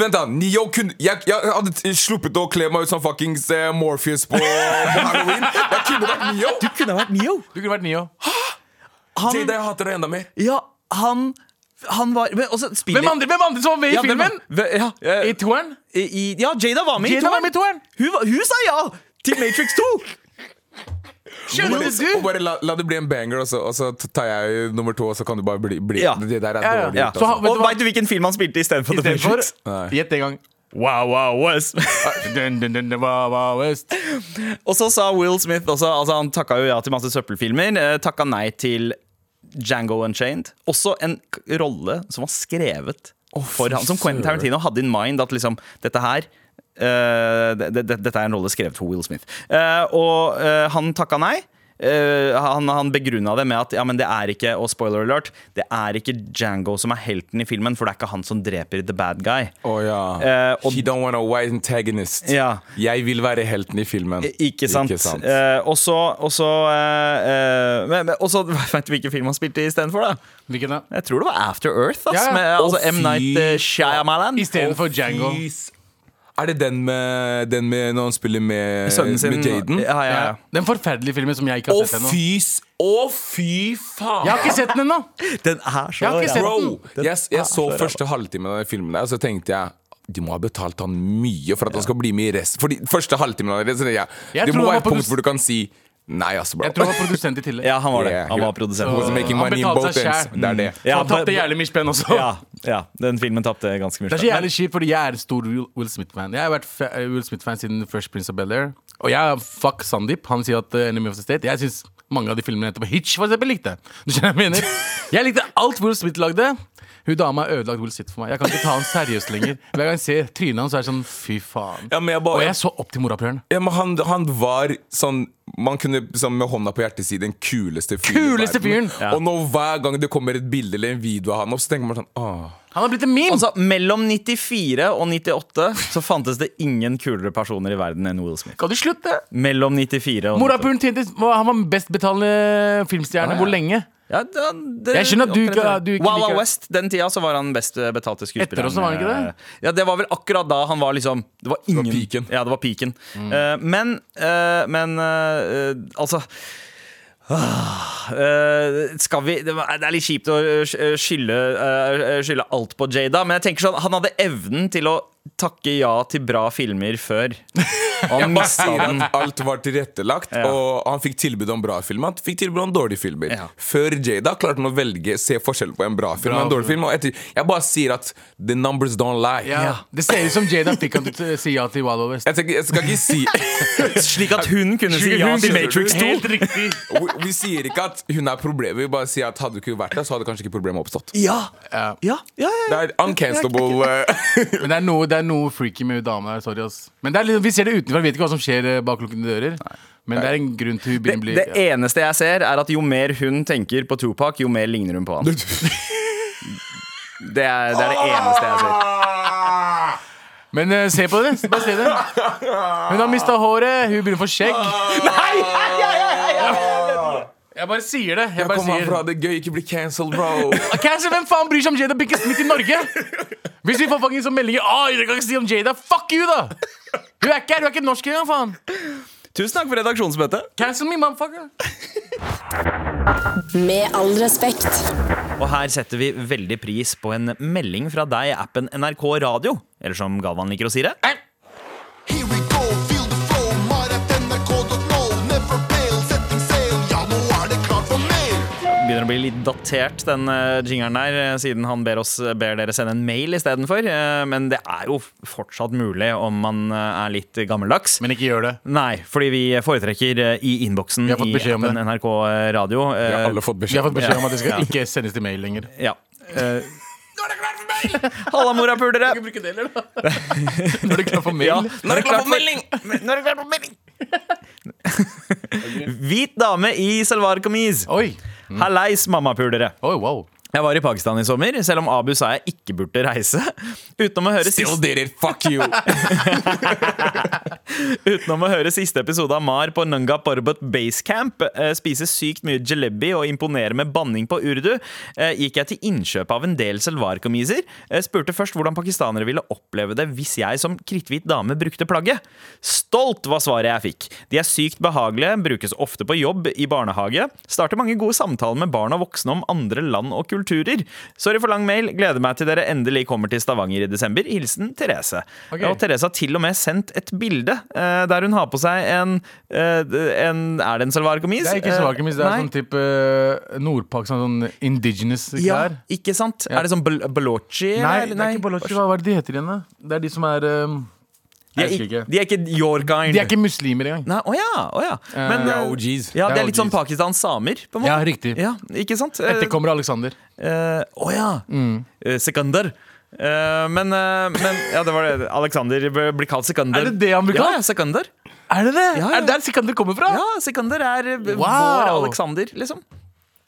D: vent da, Neo kunne jeg, jeg hadde t- sluppet å kle meg ut som fuckings eh, Morpheus på, på Halloween. Jeg kunne vært Neo!
B: Du kunne vært Neo.
C: Du kunne vært Neo.
D: Det
B: Han,
D: er det jeg hater deg enda mer.
B: ja, han, han var Men også spiller
C: Hvem andre, hvem andre som var med i
B: ja, hvem
C: filmen?
B: var- ja, eh,
C: I toeren?
B: i- ja, Jada var med i
C: Jada var med i toeren.
B: Hun, var- hun sa ja til Matrix 2!
C: Skjønner
D: Og
C: du?
D: bare la, la det bli en banger, og så, og så tar jeg nummer to, og så kan du bare bli, bli.
B: Ja.
D: Det der er
C: Ja, ja.
D: dårlig.
B: Ja.
D: gjort,
C: Så
D: altså.
C: han- vet du
B: Og
C: hva?
B: veit du hvilken film han spilte istedenfor The
C: Istedenfor
B: Matrix?
C: Gjett en gang.
B: Wow, wow, West.
C: Ah, Dun, dun, dun, dun, wow, wow, West.
B: Og så sa Will Smith også altså Han takka jo ja til masse søppelfilmer. Eh, takka nei til Django Unchained. Også en k- rolle som var skrevet for han. Som Quentin Tarantino hadde in mind at liksom dette her eh, det, det, dette er en rolle skrevet for Will Smith. Eh, og eh, han takka nei. Eh, han han begrunna det med at Ja, men det er ikke og spoiler alert, det er ikke Django som er helten i filmen, for det er ikke han som dreper the bad guy.
D: Å ja.
B: Eh, og-
D: He don't want a white antagonist.
B: Ja.
D: Jeg vil være helten i filmen.
B: Ikke sant.
D: Ikke sant.
B: Eh, og så Og så eh, eh, men- men- og så- Vet du hvilken film han spilte istedenfor? da?
C: Hvilken da?
B: Jeg tror det var After Earth. Ass,
C: Ja, ja.
B: Med,
C: Å,
B: altså M. Night eh, Shyamalan.
C: Istedenfor Django.
D: Fis. Er det den med, den med når han spiller med,
B: Sønnen sin.
D: med Jaden?
B: Ja, ja, ja.
C: Ja. Den forferdelige filmen som jeg ikke
D: Å,
C: har sett ennå.
D: fy s- Å, fy faen!
C: Jeg har ikke sett den ennå!
B: Den er så
C: Jeg har ikke sett-
B: ræva.
D: Bro,
B: Den
D: jeg,
B: er
D: jeg så
C: Ah,
B: Ah, så ræva.
D: første halvtimen av den filmen der, og så tenkte jeg de må ha betalt han mye for at han skal bli med i resten. Fordi første halvtimen av det, så tenkte jeg,
C: Jeg
D: Det
C: tror
D: må være
C: han
D: et
C: var
D: punkt
C: produs-
D: hvor du kan si Nei, ass, bro.
C: Jeg tror han var produsent i tillegg.
B: Ja, han var det.
D: Yeah,
B: han var
D: yeah.
B: produsent.
D: He was making
C: Han
D: money in
C: betalte
D: both
C: seg
D: ends.
C: selv.
D: Det er det.
B: Ja,
C: Så han tapte
B: but-
C: jævlig mye spenn også.
B: ja, ja, den filmen tapte ganske mye.
C: Det er så jævlig kjipt, fordi jeg er en stor Will Will Smith-fan. Jeg har vært fa- eh, Will Smith-fan siden Fresh Prince of Bel-Air. Og jeg fuck Sandeep. Han sier at uh, Enemy of the State Jeg syns mange av de filmene etterpå Hitch for eksempel likte. jeg. Du skjønner hva jeg mener? Jeg likte alt Will Smith lagde. Hun dama har ødelagt Will Smith for meg. Jeg kan ikke ta han seriøst lenger. Hver gang jeg ser trynet hans, så er det sånn fy faen.
D: Ja, men jeg bare-
C: Og jeg så opp til morapuleren.
D: Ja, men han, han var sånn Man kunne liksom med hånda på hjertet si den kuleste fyren. i
C: Kuleste
D: verden.
C: fyren!
B: Ja.
D: Og nå hver gang det kommer et bilde eller en video av han opp, så tenker man sånn Åh.
C: Han har blitt en meme!
B: Altså, Mellom 94 og 98 så fantes det ingen kulere personer i verden enn Will Smith.
C: Kan du slutte?
B: Mellom 94 og
C: Morapuleren tjente Han var den best betalende filmstjerne. Hvor lenge?
B: Ja, da- det,
C: Jeg skjønner at du ikke- du ikke
B: Wild
C: liker-
B: Wild West, den tida så var han best eh, betalte skuespiller.
C: Etter også, var han ikke det?
B: Ja, det var vel akkurat da han var liksom Det var ingen
D: peaken.
B: Ja, det var peaken.
C: Mm.
B: Eh, men eh, Men eh, eh, altså ah, eh, skal vi Det var- det er litt kjipt å eh, skylde, eh, skylde alt på Jada, men jeg tenker sånn han hadde evnen til å takke ja til bra filmer før. Og han
D: Bare
B: mista
D: sier
B: den.
D: at alt var tilrettelagt, og han fikk tilbud om bra film. Han fikk tilbud om dårlige filmer.
B: Ja.
D: Før Jada klarte han å velge se forskjell på en bra film
C: Bra
D: og en dårlig film. Og etter, jeg bare sier at the numbers don't lie.
C: Ja. Det ser ut som Jada fikk han til å si ja til Wild West.
D: Jeg, tenker, jeg skal ikke si
B: Slik at hun kunne si ja til Matrix 2.
C: Helt riktig.
D: vi, vi sier ikke at hun er problemet, vi bare sier at hadde du ikke vært der, så hadde kanskje ikke problemet oppstått.
B: Ja.
C: Ja.
B: Ja, ja, ja,
D: Det er uncancelable. eh,
C: Men det er, noe, det er noe freaky med hun dama der. Sorry, ass. Men det er litt, vi ser det utenfra. Vi vet ikke hva som skjer eh, bak lukkede dører. Men det er en grunn til hun
B: Det,
C: begynner å bli
B: det eneste jeg ser, er at jo mer hun tenker på Tupac, jo mer ligner hun på han. Det er det, er det eneste jeg ser.
C: Men eh, se på det. Bare se det. Hun har mista håret, hun begynner å få skjegg.
B: Ah.
C: Jeg bare sier det. Jeg
D: Jeg
C: bare
D: kom her
C: sier
D: for å ha det gøy, ikke bli cancelled, bro.
C: Cancel, Hvem faen bryr seg om Jada Pinkett Smith i Norge? Hvis vi får fuckings sånne meldinger Å, dere kan ikke si om Jada Fuck you, da! Hun er ikke her, hun er ikke norsk engang, faen.
B: Tusen takk for redaksjonsmøtet.
C: Cancel me, motherfucker.
A: Med all respekt.
B: Og her setter vi veldig pris på en melding fra deg i appen NRK Radio. Eller som Galvan liker å si det.
C: Eh.
E: Here we go, feel the flow, maratnrk.no. Never fail, setting sail, ja nå er det klart for mer.
B: Begynner å bli litt datert, den eh, jingeren der, eh, siden han ber, oss, ber dere sende en mail istedenfor. Eh, Men det er jo fortsatt mulig om man eh, er litt gammeldags.
C: Men ikke gjør det.
B: Nei, fordi vi foretrekker eh, i innboksen
C: Vi
B: i
C: har fått beskjed om
B: appen
C: det.
B: NRK Radio. eh,
D: Vi har alle fått
C: Vi
D: beskjed.
C: har fått beskjed om at det skal ikke sendes til mail lenger.
B: Ja. Halla, morapulere!
C: Bruke det, eller? da? Når du klarer for mail.
B: Ja.
D: Nå er det klart for melding!
B: Hvit dame i salwar kameez.
C: Oi.
B: Hallais, mammapulere.
C: Oi, wow.
B: Jeg var i Pakistan i sommer, selv om Abu sa jeg ikke burde reise. Utenom å høre
D: Still
B: siste,
D: did it, fuck you!
B: utenom å høre siste episode av Mar på Nanga Parbat Basecamp, eh, spise sykt mye jalebi og imponere med banning på urdu, eh, gikk jeg til innkjøp av en del salwar kameezer. Eh, Spurte først hvordan pakistanere ville oppleve det hvis jeg som kritthvit dame brukte plagget. Stolt var svaret jeg fikk. De er sykt behagelige, brukes ofte på jobb, i barnehage. Starter mange gode samtaler med barn og voksne om andre land og kulturer. Sorry for lang mail. Gleder meg til dere endelig kommer til Stavanger i desember. Hilsen Therese.
C: Ok.
B: Og Therese har til og med sendt et bilde eh, der hun har på seg en, eh, en Er det en salwar kameez?
C: Det er ikke
B: Eh,
C: svarkemis, det er
B: nei.
C: sånn type eh, Nordpakistan, sånn indigenous
B: ja,
C: klær.
B: ikke sant? Er det sånn bal balochi?
C: Nei,
B: eller?
C: det er ikke balochi. Hva hva er det de heter igjen, da? Det er de som er eh,
B: De
C: Jeg
B: er,
C: husker
B: ikke,
C: ikke.
B: de er ikke your kind.
C: De er ikke muslimer engang.
B: Nei, å ja, å ja. Men,
D: Det
B: eh,
D: er OGs.
B: ja, det er
C: Det er
B: litt sånn
C: OGs.
B: Pakistans samer, på en måte.
C: Ja, riktig.
B: Ja, ikke sant? Eh,
C: Etterkommer Alexander.
B: Eh, Å ja!
C: Mm.
B: Eh, Sekander. Eh, men, eh, men Ja, det var det. Alexander b- blir kalt Sekander.
C: Er det det han blir kalt?
B: Ja, ja, Sekander.
C: Er det det?
B: Ja, ja.
C: Er det der Sikander kommer fra?
B: Ja, Sekander er eh,
C: Wow!
B: vår Alexander, liksom.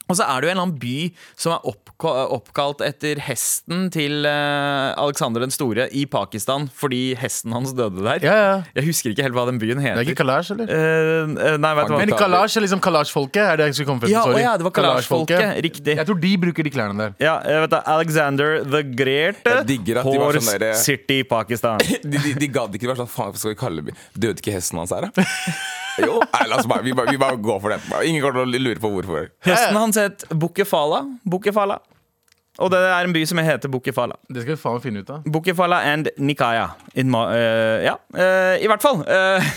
B: Og så er det jo en eller annen by som er oppka oppkalt etter hesten til eh, Alexander den store i Pakistan fordi hesten hans døde der.
C: Ja, ja.
B: Jeg husker ikke helt hva den byen
C: Det
B: heter.
C: er ikke Kalash, eller?
B: Eh, eh, nei, vet du hva.
C: Men Kalash er liksom Kalash-folket? Er det jeg skulle komme frem til?
B: Ja,
C: Sorry.
B: å ja, det var Kalash-folket. Riktig.
C: Jeg tror de bruker de klærne der.
B: Ja, jeg vet det, Alexander the Great.
D: Jeg digger at de var sånn
B: Horse
D: der-
B: City, Pakistan.
D: De, de, de gadd ikke være sånn Faen, hva skal vi kalle det? Døde ikke hesten hans her, da? Jo, nei, la oss bare, vi, bare, vi bare går for det. Ingen kommer til å lure på hvorfor.
B: Hesten hans het Bukkefala. Bukkefala. Og det er en by som heter Bukkefala.
C: Det skal vi faen finne ut av.
B: Bukkefala and Nikaya. In ma eh, ja, eh, i hvert fall. eh,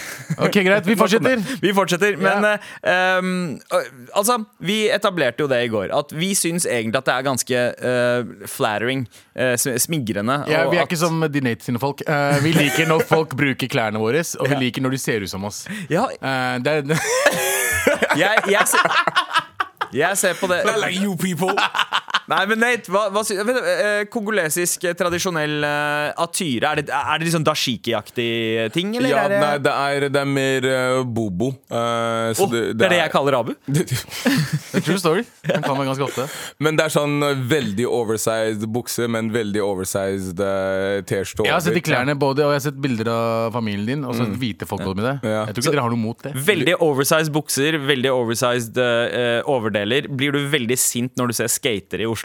C: Ok, Greit, vi fortsetter.
B: vi fortsetter. Men eh, ehm, eh, altså, vi etablerte jo det i går. At vi syns egentlig at det er ganske eh, flattering. eh, sm- smigrende.
C: Ja,
B: og
C: vi er
B: at-
C: ikke som de Nate sine folk. Eh, vi liker når folk bruker klærne våre, og vi liker når de ser ut som oss.
B: Ja,
C: Eh, det er,
B: jeg, jeg, ser, jeg ser på det
D: I like you people!
B: Nei, men Nate, hva, hva sy- vent, eh, Kongolesisk, eh, tradisjonell eh, atyre, er det, er det liksom dashiki-aktig ting, eller?
D: Ja,
B: er det,
D: nei, det er, det er mer eh, bobo. eh, så
B: Åh, det, er det jeg kaller abu?
C: True story. Den kan meg ganske ofte.
D: Men det er sånn eh, veldig oversized bukse, men veldig oversized eh, T-skjorte.
C: Jeg har sett
D: over.
C: i klærne både, og jeg har sett bilder av familien din. Og så hvite folk går med det.
D: Ja.
C: Jeg tror ikke dere har noe mot det.
B: Veldig oversized bukser, veldig oversized eh, overdeler. Blir du veldig sint når du ser skatere i Oslo?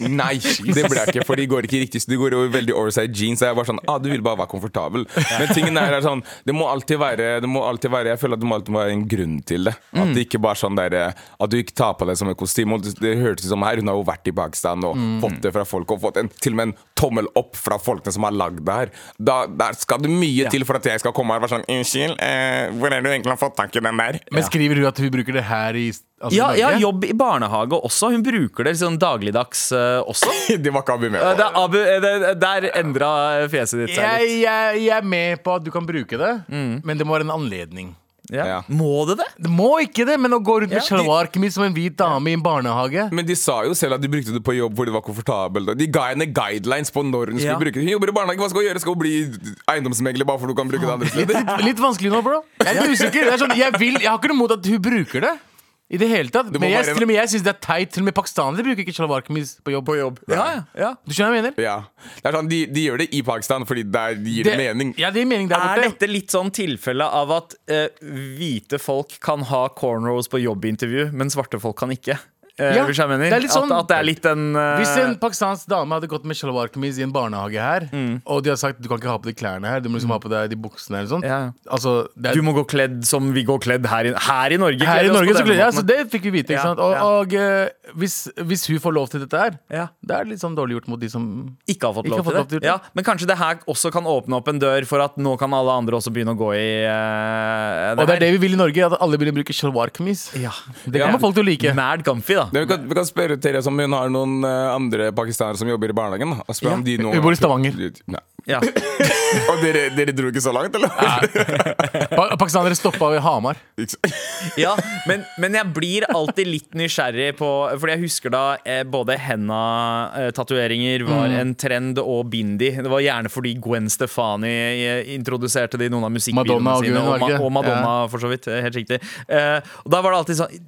D: Nei, det ble jeg ikke, for de går ikke riktig. De går jo i veldig oversized jeans. Og jeg var sånn, ah, du vil bare være komfortabel. Men tingen er, er sånn, det må alltid være Det må alltid være Jeg føler at det må alltid være en grunn til det. At det ikke bare sånn der, At du ikke tar på deg som et kostyme. Og Det det hørtes ut som her, hun har jo vært i Pakistan og fått det fra folk, og fått en, til og med en tommel opp fra folkene som har lagd det her. Da, der skal det mye til for at jeg skal komme her og være sånn Unnskyld, eh, hvor er det du egentlig har fått tak i den der?
C: Men skriver hun at hun bruker det her i altså,
B: Ja,
C: i
B: ja,
C: Norge?
B: jobb i barnehage også. Hun bruker det sånn dagligdags eh, også.
D: Det var ikke Abu med
B: Eh,
D: på.
B: det er abu, eh, det, der endra fjeset ditt seg
C: Jeg,
B: litt.
C: jeg, jeg er med på at du kan bruke det, men det må være en anledning.
B: Ja.
D: Ja.
B: Må det det?
C: Det må ikke det, men å gå rundt med
B: Ja.
C: shalwar-kemis som en hvit dame i en barnehage
D: Men de sa jo selv at de brukte det på jobb hvor det var komfortabelt. og De ga henne guidelines på når hun skulle
B: Ja.
D: bruke det. Hun jobber i barnehage, hva skal hun gjøre? Skal hun bli eiendomsmegler bare for du kan bruke det andre steder?
C: Litt, litt vanskelig nå, bro. Jeg er usikker. Det er sånn, jeg, vil, jeg har ikke noe mot at hun bruker det. I det hele tatt.
D: må
C: Men jeg,
D: være-
C: til og med jeg syns det er teit. Til og med pakistanere bruker ikke shalwar-kemis på jobb.
B: Ja, ja.
C: Du skjønner hva jeg mener?
D: Ja. Det er sånn, de, de gjør det i Pakistan fordi det er, de gir det, mening.
C: Ja, det gir mening der
B: Er
C: borte.
B: dette litt sånn tilfelle av at eh, hvite folk kan ha cornrows på jobbintervju, men svarte folk kan ikke? Eh,
C: Ja,
B: hvis jeg mener.
C: det er litt sånn-
B: at, at det er litt den eh,
C: Hvis en pakistansk dame hadde gått med shalwar-kameez i en barnehage her,
B: Mm.
C: og de hadde sagt du kan ikke ha på de klærne her, du må liksom ha på deg de buksene her, eller sånt.
B: Ja.
C: Altså, det er,
B: Du må gå kledd som vi går kledd her i, her i Norge.
C: her i
B: kler oss på
C: Norge så
B: denne
C: gleder jeg,
B: måten.
C: så det fikk vi vite.
B: Ja,
C: ikke sant? Og,
B: ja.
C: og eh, hvis, hvis hun får lov til dette her,
B: Ja.
C: det er litt sånn dårlig gjort mot de som
B: ikke har fått
C: Ikke
B: lov
C: har fått
B: til
C: lov til
B: det.
C: det.
B: Ja, men kanskje det her også kan åpne opp en dør for at nå kan alle andre også begynne å gå i eh,
C: Og det er det
B: her.
C: vi vil i Norge, at alle vil bruke shalwar-kameez.
B: Ja.
C: Det kommer folk til å like.
B: Mad comfy, da.
D: Det, vi, kan, vi kan spørre Terje om hun har noen eh, andre pakistanere som jobber i barnehagen. da, Og spørre om de noen
C: Hun bor i
D: gang-
C: Stavanger.
D: Nei.
B: Ja.
D: Og dere, dere dro ikke så langt, eller?
C: Pa pakistanere stoppa ved Hamar.
D: Ikke så-
B: Ja, men, men jeg blir alltid litt nysgjerrig på Fordi jeg husker da eh, både henda-tatoveringer var
C: Mm.
B: en trend, og bindi. Det var gjerne fordi Gwen Stefani eh, introduserte det i noen av musikkvideoene
C: Madonna og
B: sine. Og,
C: Gwen, var det
B: Ma-
C: ikke?
B: og Madonna, for så vidt. eh, Helt riktig. Eh, og da var det alltid sånn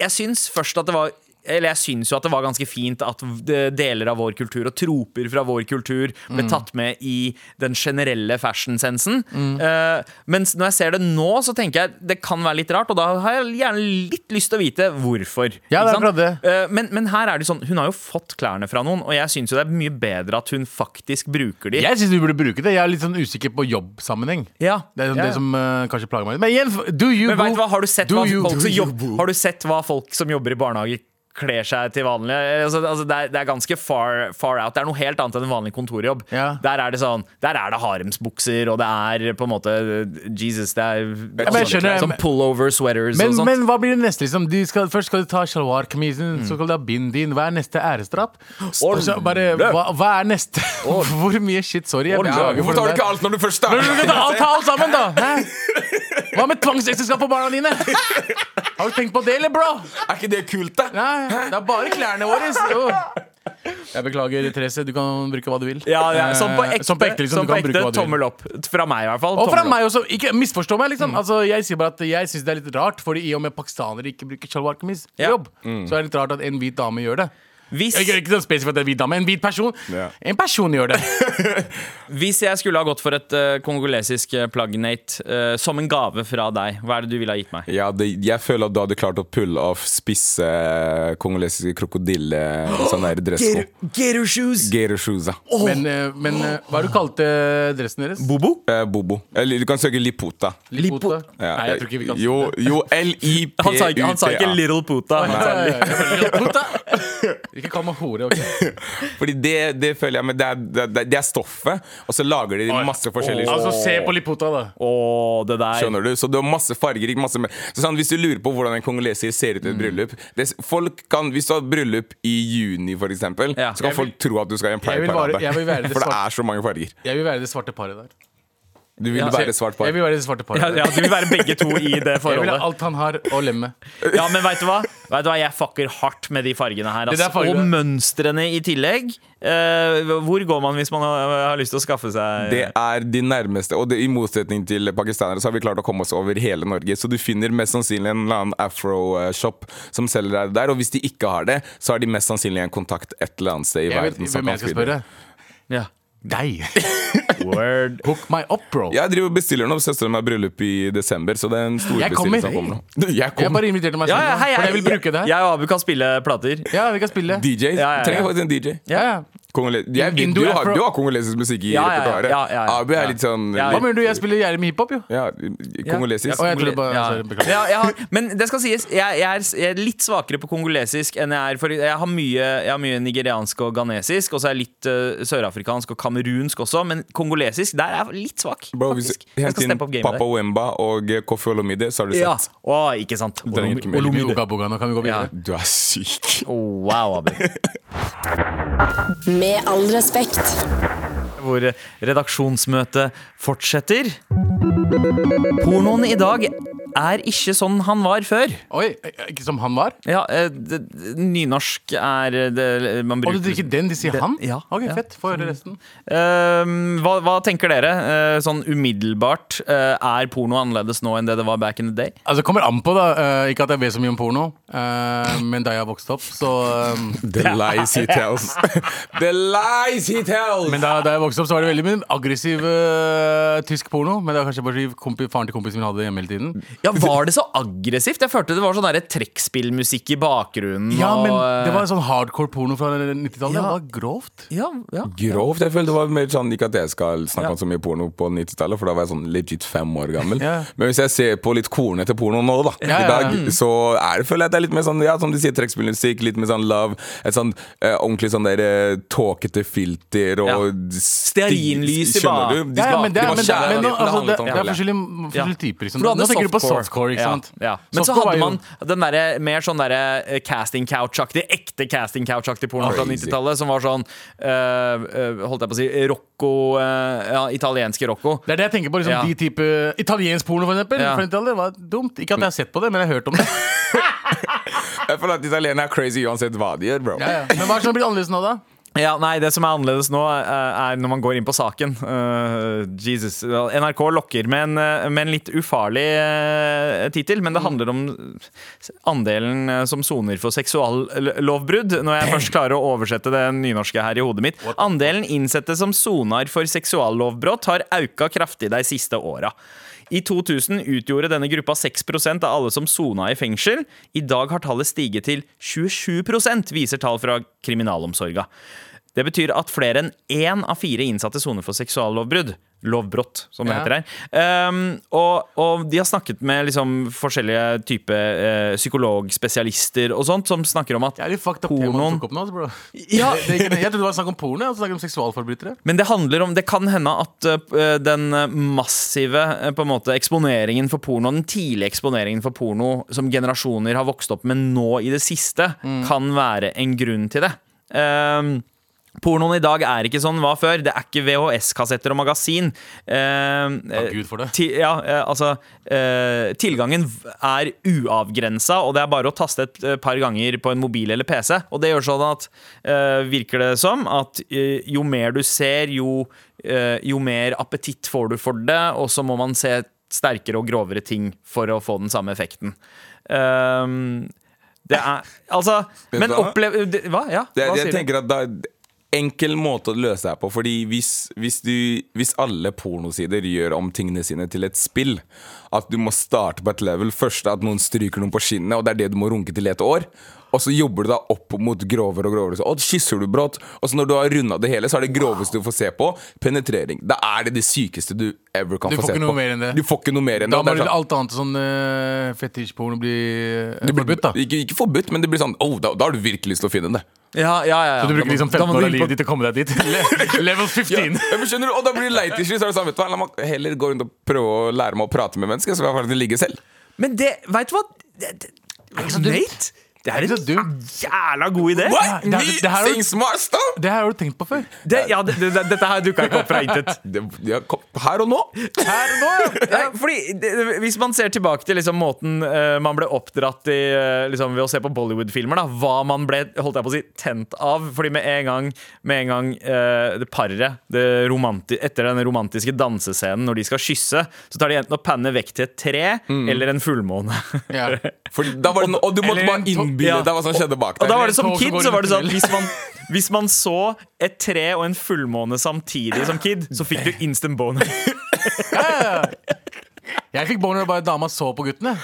B: Jeg syns først at det var eller jeg syns jo at det var ganske fint at v- deler av vår kultur og troper fra vår kultur ble
C: Mm.
B: tatt med i den generelle fashion-sensen.
C: Mm.
B: Eh, mens når jeg ser det nå, så tenker jeg det kan være litt rart, og da har jeg gjerne litt lyst til å vite hvorfor.
C: Ja,
B: Ikke
C: det er
B: sant?
C: akkurat
B: Eh, men, men her er det sånn, hun har jo fått klærne fra noen, og jeg syns jo det er mye bedre at hun faktisk bruker de.
C: Jeg syns vi burde bruke det. Jeg er litt sånn usikker på jobbsammenheng.
B: Ja.
C: Det er sånn
B: Ja, ja.
C: det som eh, kanskje plager meg litt. Men igjen, f- do you
B: Men vet du
C: boo?
B: hva, har du, sett
C: Do
B: hva
C: you-
B: folk
C: do
B: som
C: you
B: jobb,
C: boo?
B: har du sett hva folk som jobber i barnehage kler seg til vanlig? Altså, altså, det, er, det er ganske far, far out. Det er noe helt annet enn en vanlig kontorjobb.
C: Ja.
B: Der er det sånn, der er det haremsbukser, og det er på en måte Jesus, det er
D: men jeg
C: skjønner-
B: sånn pullover sweaters
C: Men,
B: og sånn sånt. Mm.
C: men hva blir det neste? liksom? De skal, først skal du ta shalwar-kamisen, så skal du ha bindien. Hva er neste æresdrap? Og så bare, hva, hva er neste? Hvor mye shit? Sorry.
D: Ja,
C: Jeg beklager
D: Hvorfor
C: for
D: tar du
C: den
D: ikke
C: der.
D: alt når du først starter?
C: Ta ta alt sammen, da! Hæ? Hva med tvangsekteskap på barna dine? Har du tenkt på det, eller, bro?
D: Er ikke det kult, da?
C: Nei, det er bare klærne våre. så- Oh. Jeg beklager, Therese. Du kan bruke hva du vil.
B: ja, ja, sånn på
C: Eh,
B: ekte,
C: sånn på ekte, liksom,
B: sånn
C: du
B: på
C: kan bruke
B: ekte
C: hva du vil.
B: tommel opp. Fra meg, i hvert fall.
C: Og fra
B: tommel opp.
C: meg også. Ikke misforstå meg, liksom. Altså, jeg sier bare at jeg syns det er litt rart, Fordi i og med pakistanere ikke bruker shalwar-kameez på
B: Ja.
C: jobb, så er det litt rart at en hvit dame gjør det.
B: Hvis,
C: Ikke, ikke sånn spesifikt at det er en hvit dame, en hvit person.
D: Ja.
C: En person gjør det.
B: hvis jeg skulle ha gått for et eh, kongolesisk eh, plagg, Nate, eh, som en gave fra deg, hva er det du ville ha gitt meg?
D: Ja, det, jeg føler at du hadde klart å pulle av spisse eh, kongolesiske krokodille Sånn der dressko.
B: Gator shoes!
D: Gator shoes, ja.
C: Men, eh, men eh, hva er det du kalte dressen deres?
B: Bobo?
D: Eh, Bobo. Eller du kan søke Lipota.
C: Lipota?
D: Ja.
C: Nei, jeg tror ikke vi kan
D: Jo, jo L-I-P-U-T-A.
B: Han sa ikke, han sa ikke Little Puta.
C: Nei,
B: Han sa
C: nei, nei, nei, Lipota? Ikke kall meg hore. ok
D: Fordi det, det føler jeg Men det er, det, er- det er stoffet, og så lager de masse forskjellige
C: Altså, se på Lipota, da.
B: Åh, det der
D: Skjønner du? Så du har masse fargerik masse mer. så sånn, Hvis du lurer på hvordan en kongoleser ser ut i et
C: Mm.
D: bryllup det, folk kan, Hvis du har bryllup i juni, for eksempel,
B: Ja.
D: så kan
B: Jeg
D: folk tro at du skal i en
C: jeg vil
D: pride-parade.
C: bare- jeg vil være det
D: For det
C: svarte-
D: er så mange farger.
C: Jeg vil være det svarte paret der.
D: Du ville
B: Ja.
D: være svart par.
C: Jeg vil være det svarte
B: Ja,
C: paret.
B: ja, de vil være begge to i det
C: jeg vil ha
B: forholdet.
C: alt han har å lemme.
B: Ja, Men veit du hva? Vet du hva? Jeg fucker hardt med de fargene her.
C: Det
B: ass.
C: der fargene.
B: Og mønstrene i tillegg. Eh, hvor går man hvis man har, har lyst til å skaffe seg
D: Det er de nærmeste. Og det, i motsetning til pakistanere, så har vi klart å komme oss over hele Norge. Så du finner mest sannsynlig en eller annen afro-shop som selger deg det der. Og hvis de ikke har det, så har de mest sannsynlig en kontakt et eller annet sted i
C: Jeg vet
D: verden. som
C: hvem jeg
D: kan
C: skal
D: spille.
C: spørre.
B: Ja.
C: Deg.
B: Word.
C: Hook my up, bro.
D: Jeg driver og bestiller nå. Søsteren min har bryllup i desember, så det er en stor
C: Jeg kommer.
D: bestilling som kommer nå. Du, Jeg
C: Jeg
D: kommer.
C: bare inviterte meg
B: Ja,
C: selv,
B: ja, hei, hei,
C: for jeg vil bruke det her.
B: Jeg og Abu kan spille plater.
C: Ja, vi kan spille.
D: DJ.
B: Ja, ja, ja.
D: Trenger faktisk en DJ.
C: Ja, ja.
D: Kongole jeg, vet-
C: Indo
D: du, har,
C: afro-
D: du har kongolesisk musikk i
B: Ja, ja, ja,
D: repertoaret.
B: ja, ja, ja.
D: Abu er
B: Ja.
D: litt sånn
B: Ja,
C: Hva mener du? Jeg spiller gjerrig med hiphop, jo.
D: ja, kongolesisk.
C: Å, jeg trodde bare-
B: Ja.
C: sorry, beklager.
B: Ja, jeg har, men det skal sies, jeg, jeg, er, jeg er litt svakere på kongolesisk enn jeg er for Jeg har mye, jeg har mye nigeriansk og ghanesisk, og så er jeg litt eh, sørafrikansk og kamerunsk også, men kongolesisk, der er jeg litt svak.
D: Bro, hvis
B: faktisk. Jeg
D: Hent
B: skal
D: inn
B: steppe opp gamet
D: Papa
B: der.
D: Wemba og eh, Kofi Olomide, så har du sett.
B: Ja. Å, ikke sant.
D: trenger ikke mer.
B: Olomide.
C: Uga boga, nå kan vi gå
B: Ja.
C: videre.
D: Du er syk.
B: Å, wow, Abu.
A: Med all respekt.
B: hvor redaksjonsmøtet fortsetter. Pornoen i dag er ikke sånn han var før.
C: Oi, eh, ikke som han var?
B: Ja, eh, det, det- nynorsk er det, Man
C: Og
B: bruker
C: du drikker den, de sier
B: Den-
C: han?
B: ja,
C: ok,
B: ja. Mm.
C: fett. Få høre resten.
B: Ehm, hva, hva tenker dere? Eh, sånn umiddelbart, eh, er porno annerledes nå enn det det var back in the day?
C: Altså, kommer an på, da. Eh, ikke at jeg vet så mye om porno, eh, men da jeg vokste opp, så eh,
D: The lies he tells. The lies he tells!
C: Men da, da jeg vokste opp, så var det veldig mye aggressiv eh, tysk porno. Men det var kanskje bare fordi kompi, faren til kompisen min hadde det hjemme hele tiden.
B: Ja, Var det så aggressivt? Jeg følte det var sånn derre trekkspillmusikk i bakgrunnen.
C: Ja,
B: og,
C: men det var
B: eh,
C: sånn hardcore porno fra 90-tallet.
B: Ja.
C: Det var grovt.
B: ja, ja.
D: Grovt. Jeg føler det var mer sånn Ikke at jeg skal snakke
B: Ja.
D: om så mye porno på 90-tallet, for da var jeg sånn legit fem år gammel.
C: Ja.
D: Men hvis jeg ser på litt kornete porno nå, da,
C: Ja,
D: i
C: ja, ja. Mm.
D: dag, så er det, føler jeg at det er litt mer sånn Ja, som de sier, trekkspillmusikk, litt mer sånn love. Et sånn eh, ordentlig sånn der eh, tåkete filter og
B: Ja.
D: stig-
B: Stearinlys i
D: skjønner
B: baren.
D: du? De
C: Ja, ja,
D: skal-
C: men det,
D: de
C: er-
D: var
C: men det,
D: kjære,
C: men, nå,
D: det
C: altså, det,
D: handlet om
C: det er
D: kjærlighet.
C: forskjellige,
B: Ja.
C: forskjellige typer. Liksom.
B: For du hadde
C: Nå tenker du på
B: softcore.
C: softcore, ikke sant?
B: Ja, ja. Men så
C: Softcore var
B: hadde
C: jo-
B: man den derre mer sånn derre eh, casting couch-aktig, ekte casting couch-aktig porno fra
D: Crazy.
B: 90-tallet, som var sånn eh, eh, Holdt jeg på å si Rocco eh, Ja, italienske Rocco.
C: Det er det jeg tenker på. liksom
B: Ja.
C: de type Italiensk porno, for eksempel.
B: Ja.
C: For det var dumt. Ikke at jeg har sett på det, men jeg har hørt om det.
D: Jeg føler at italienere er crazy uansett hva de gjør, bro.
C: Ja, ja. Men hva er det som har blitt annerledes nå, da?
B: Ja, nei, Det som er annerledes nå, eh, er når man går inn på saken. Eh, Jesus. Well, NRK lokker med en, eh, med en litt ufarlig uh, tittel, men det handler om andelen eh, som soner for seksuallovbrudd. Når jeg først klarer å oversette det nynorske her i hodet mitt. Andelen innsatte som sonar for seksuallovbrudd har auka kraftig de siste åra. I 2000 utgjorde denne gruppa 6 av alle som sona i fengsel. I dag har tallet stiget til 27 viser tall fra kriminalomsorga. Det betyr at flere enn én av fire innsatte soner for seksuallovbrudd. Lovbrott, som det
C: Ja.
B: heter her. Um, og, og de har snakket med liksom forskjellige typer eh, psykologspesialister og sånt, som snakker om at
C: Jeg er litt fucked up
B: Pornoen.
C: temaet du tok opp nå, altså, bro.
B: Ja.
C: Det, det, jeg trodde det var snakk om porno, og så snakket vi om seksualforbrytere.
B: Men det handler om, det kan hende at eh, den eh, massive eh, på en måte, eksponeringen for porno, den tidlige eksponeringen for porno som generasjoner har vokst opp med nå i det siste, kan være en grunn til det. Ehm, Pornoen i dag er ikke sånn den var før. Det er ikke VHS-kassetter og magasin. Ehm,
C: Takk Gud for det.
B: ti, ja, eh, altså eh, Tilgangen v- er uavgrensa, og det er bare å taste et eh, par ganger på en mobil eller PC. Og det gjør sånn at eh, virker det som at eh, jo mer du ser, jo, eh, jo mer appetitt får du for det, og så må man se sterkere og grovere ting for å få den samme effekten. Ehm, det er Altså
D: Vet
B: Men
D: du hva?
B: opplev... det- Hva? Ja,
D: Det,
B: hva
D: jeg
B: sier du?
D: tenker at det er enkel måte å løse det her på. Fordi hvis, hvis, du, hvis alle pornosider gjør om tingene sine til et spill, at du må starte på et level først, at noen stryker noen på skinnet, og det er det du må runke til i et år. Og så jobber du da opp mot grovere og grovere. Så, og kysser du brått. Og så når du har runda det hele, så er det groveste du får se på, penetrering. Da er det det sykeste du ever kan
C: Du
D: få
C: får
D: se på.
C: ikke noe mer enn det.
D: Du får ikke noe mer enn
C: Da
D: det.
C: må
D: Og det. er sånn-
C: alt annet sånn uh, fetisjporno bli eh,
D: det blir-
C: forbudt, da.
D: Ikke, ikke forbudt, men det blir sånn oh, da, da har du virkelig lyst til å finne det.
B: Ja, ja, ja, ja.
C: Du
B: Da
C: bruker
B: må-
C: liksom
B: da må
C: 15 år av
B: du inn på-
C: livet ditt til å komme deg dit. Le- Level 15.
D: Ja, men skjønner du, Og da blir det leit til slutt. Så er det sånn, vet du hva, la meg heller gå rundt og prøve å lære meg å prate med mennesker, så kan jeg faktisk ligge selv.
B: Men det, vet du hva? Det, det, Nate, det, Det er
C: Så
B: en
C: dumt.
B: jævla god idé.
D: What?
C: Det- det-
D: Me?
C: det her er jo-
D: Things must stop!
C: Det her har du tenkt på før.
B: Det, ja, det, det, dette her dukka ikke opp fra intet.
D: Det, ja, kom, her og nå.
C: Her og nå, ja.
B: Nei, fordi det, det- Hvis man ser tilbake til liksom måten eh, man ble oppdratt i eh, liksom ved å se på Bollywood-filmer, da hva man ble holdt jeg på å si, tent av Fordi med en gang, med en gang eh, det paret det romanti etter den romantiske dansescenen, når de skal kysse, så tar de enten og panner vekk til et tre eller en fullmåne.
C: Mm. Ja.
D: Fordi da var det no- og du måtte
C: Eller
D: bare
C: en to-
D: innbille
B: ja.
D: deg hva som skjedde bak
B: Og da
D: der.
B: var det som
C: Tog som
B: kid,
C: går
B: så var det
C: rundt
B: sånn
C: i
B: hvis man, hvis man så et tre og en fullmåne samtidig som kid, så fikk du instant boner.
C: Jeg fikk boner da bare dama så på guttene.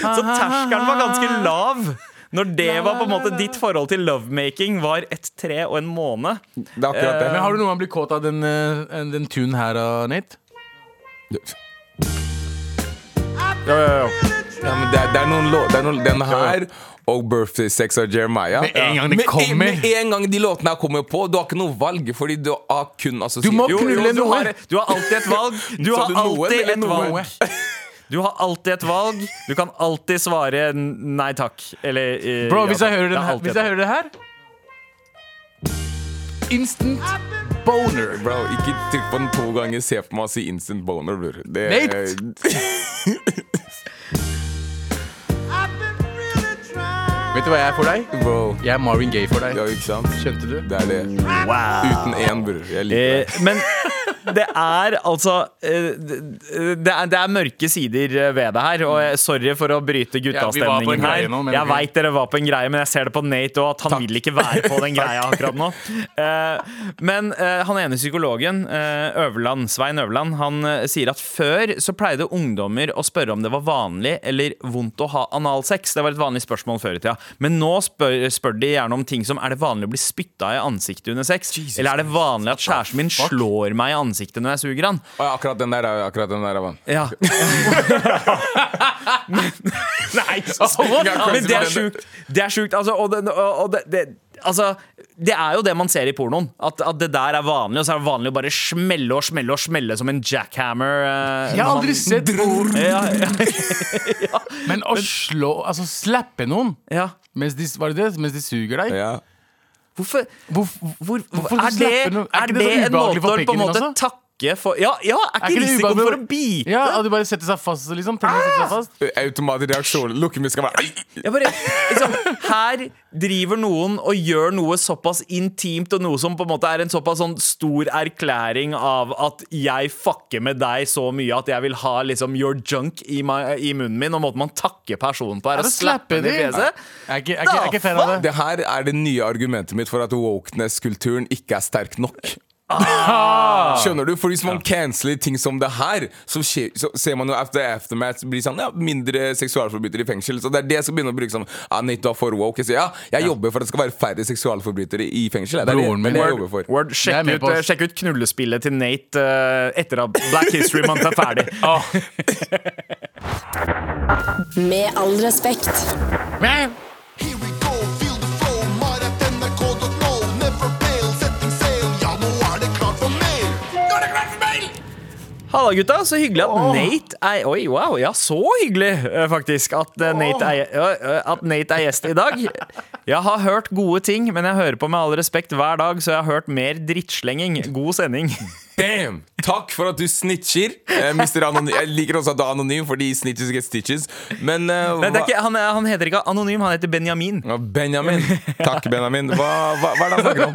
B: Så terskelen var ganske lav. Når det var på en måte ditt forhold til lovemaking, var et tre og en måne.
D: Det er akkurat det.
C: Men har du noen gang blitt kåt av den, eh, den tunen her, eh, Nate?
D: Ja, men det, er, det er noen lå- det er noen, Den her og 'Birthday Sex' av Jeremiah.
C: Med en gang det
D: Med en-
C: kommer.
D: Med en gang de låtene her kommer på, du har ikke noe valg. Fordi du har kun assosiert
C: Du må
D: Jo,
C: knulle
D: jo,
B: du,
D: du har-
B: har, du har alltid et valg. Du
D: Sa
B: har
D: du noen
B: alltid
D: eller
B: et
D: noe?
B: valg. Du har alltid et valg. Du kan alltid svare n- nei takk. Eller eh,
C: Bro,
B: ja
C: hvis jeg
B: takk.
C: hører,
B: Det
C: den
B: er
C: her,
B: alltid
C: hvis
B: et
C: jeg hører det her Instant boner.
D: Bro, ikke trykk på den to ganger. Se på meg og si 'instant boner', bror. Det,
C: Nate! Vet du hva jeg er for deg?
D: Bro.
C: Jeg er Marvin Gaye for
D: Ja,
C: deg.
D: ikke sant?
C: Skjønte du?
D: Det er det.
B: valg. Wow.
D: Uten én, bror. Jeg liker det.
B: Eh, men det er altså eh, Det det er, det er mørke sider eh, ved det her. Og jeg- sorry for å bryte
C: Ja, vi var på
B: guttastemningen
C: en greie
B: her.
C: nå, men
B: jeg
C: ok.
B: veit dere var på en greie, men jeg ser det på Nate òg, at han vil ikke være på den greia akkurat nå. Eh, men eh, han ene psykologen, eh, Øverland, Svein Øverland, han eh, sier at før så pleide ungdommer å spørre om det var vanlig eller vondt å ha analsex. Det var et vanlig spørsmål før i tida. Men nå spør, spør de gjerne om ting som er det vanlig å bli spytta i ansiktet under sex? eller er det vanlig at kjæresten min slår meg i ansiktet når jeg suger han?
D: Å, ja, akkurat den der er akkurat den der er vann.
B: Ja. Nei, så Men det er sjukt. Det er sjukt. Altså, og det, og det, det Altså, det er jo det man ser i pornoen. At, at det der er vanlig. Og så er det vanlig å bare smelle og smelle og smelle som en jackhammer. eh,
C: Jeg har
B: når
C: aldri
B: man-
C: sett porno,
B: ja, ja,
C: men å slå Altså slappe noen
B: ja.
C: mens de, var det det? Mens de suger deg?
D: Ja.
B: Hvorfor,
C: Hvor,
B: hvor,
C: Hvorfor
B: er det,
C: slapper noen- er
B: er
C: ikke det
B: det
C: så
B: en
C: ubehagelig
B: måte
C: for
B: å på
C: pikken
B: en
C: din
B: måte
C: også?
B: takke for Ja, ja er ikke,
C: det
B: risikoen
C: ubehagelig?
B: for å bite?
C: Ja, og du bare setter seg fast liksom. Tenker å
B: Ah!
C: sette seg fast.
D: Automatisk reaksjon. Lukkemus skal være Ai!
B: Jeg bare, liksom, her driver noen og gjør noe såpass intimt, og noe som på en måte er en såpass sånn stor erklæring av at jeg fucker med deg så mye at jeg vil ha liksom your junk i, my, i munnen min, og måten man takker personen på,
C: Er
B: er å
C: det
B: slappe den i
C: slapping?
B: fjeset.
C: Jeg er ikke, jeg er ikke, jeg er ikke fan av det.
D: Det her er det nye argumentet mitt for at wokeness-kulturen ikke er sterk nok.
B: Ah!
D: Skjønner du? For hvis man canceler ting som det her, så, skjer, så ser man jo after aftermath blir sånn, ja, mindre seksualforbrytere i fengsel. Så det er det jeg skal begynne å bruke som ja, Nate, du er for woke. Jeg sier ja, jeg jobber for at det skal være færre seksualforbrytere i fengsel. Det er det,
C: Broren min-
D: det, er det jeg jobber for.
B: Word,
C: Jeg er
B: sjekk,
C: med
B: ut,
C: på oss.
B: eh, sjekk ut knullespillet til Nate eh, etter at Black History Month er ferdig.
A: Med all respekt.
C: Men-
E: Here we go, feel the flow, maratnrk.no. Never fail, setting sail. Ja, nå er det klart for mer.
B: Halla, gutta. Så hyggelig at Nate er Oi, wow. Ja, så hyggelig, eh, faktisk, at, eh, Nate er, ja, eh, at Nate er gjest i dag. Jeg har hørt gode ting, men jeg hører på med all respekt hver dag, så jeg har hørt mer drittslenging. God sending.
D: Damn! Takk for at du snitcher. Eh, Mr. Anony jeg liker også at du er anonym, fordi snitches get stitches. Men eh,
B: Nei, det er
D: hva-
B: ikke, han, er- han heter ikke Anonym, han heter Benjamin.
D: Ja, Benjamin. Takk, Benjamin. Hva, hva, hva er det han snakker om?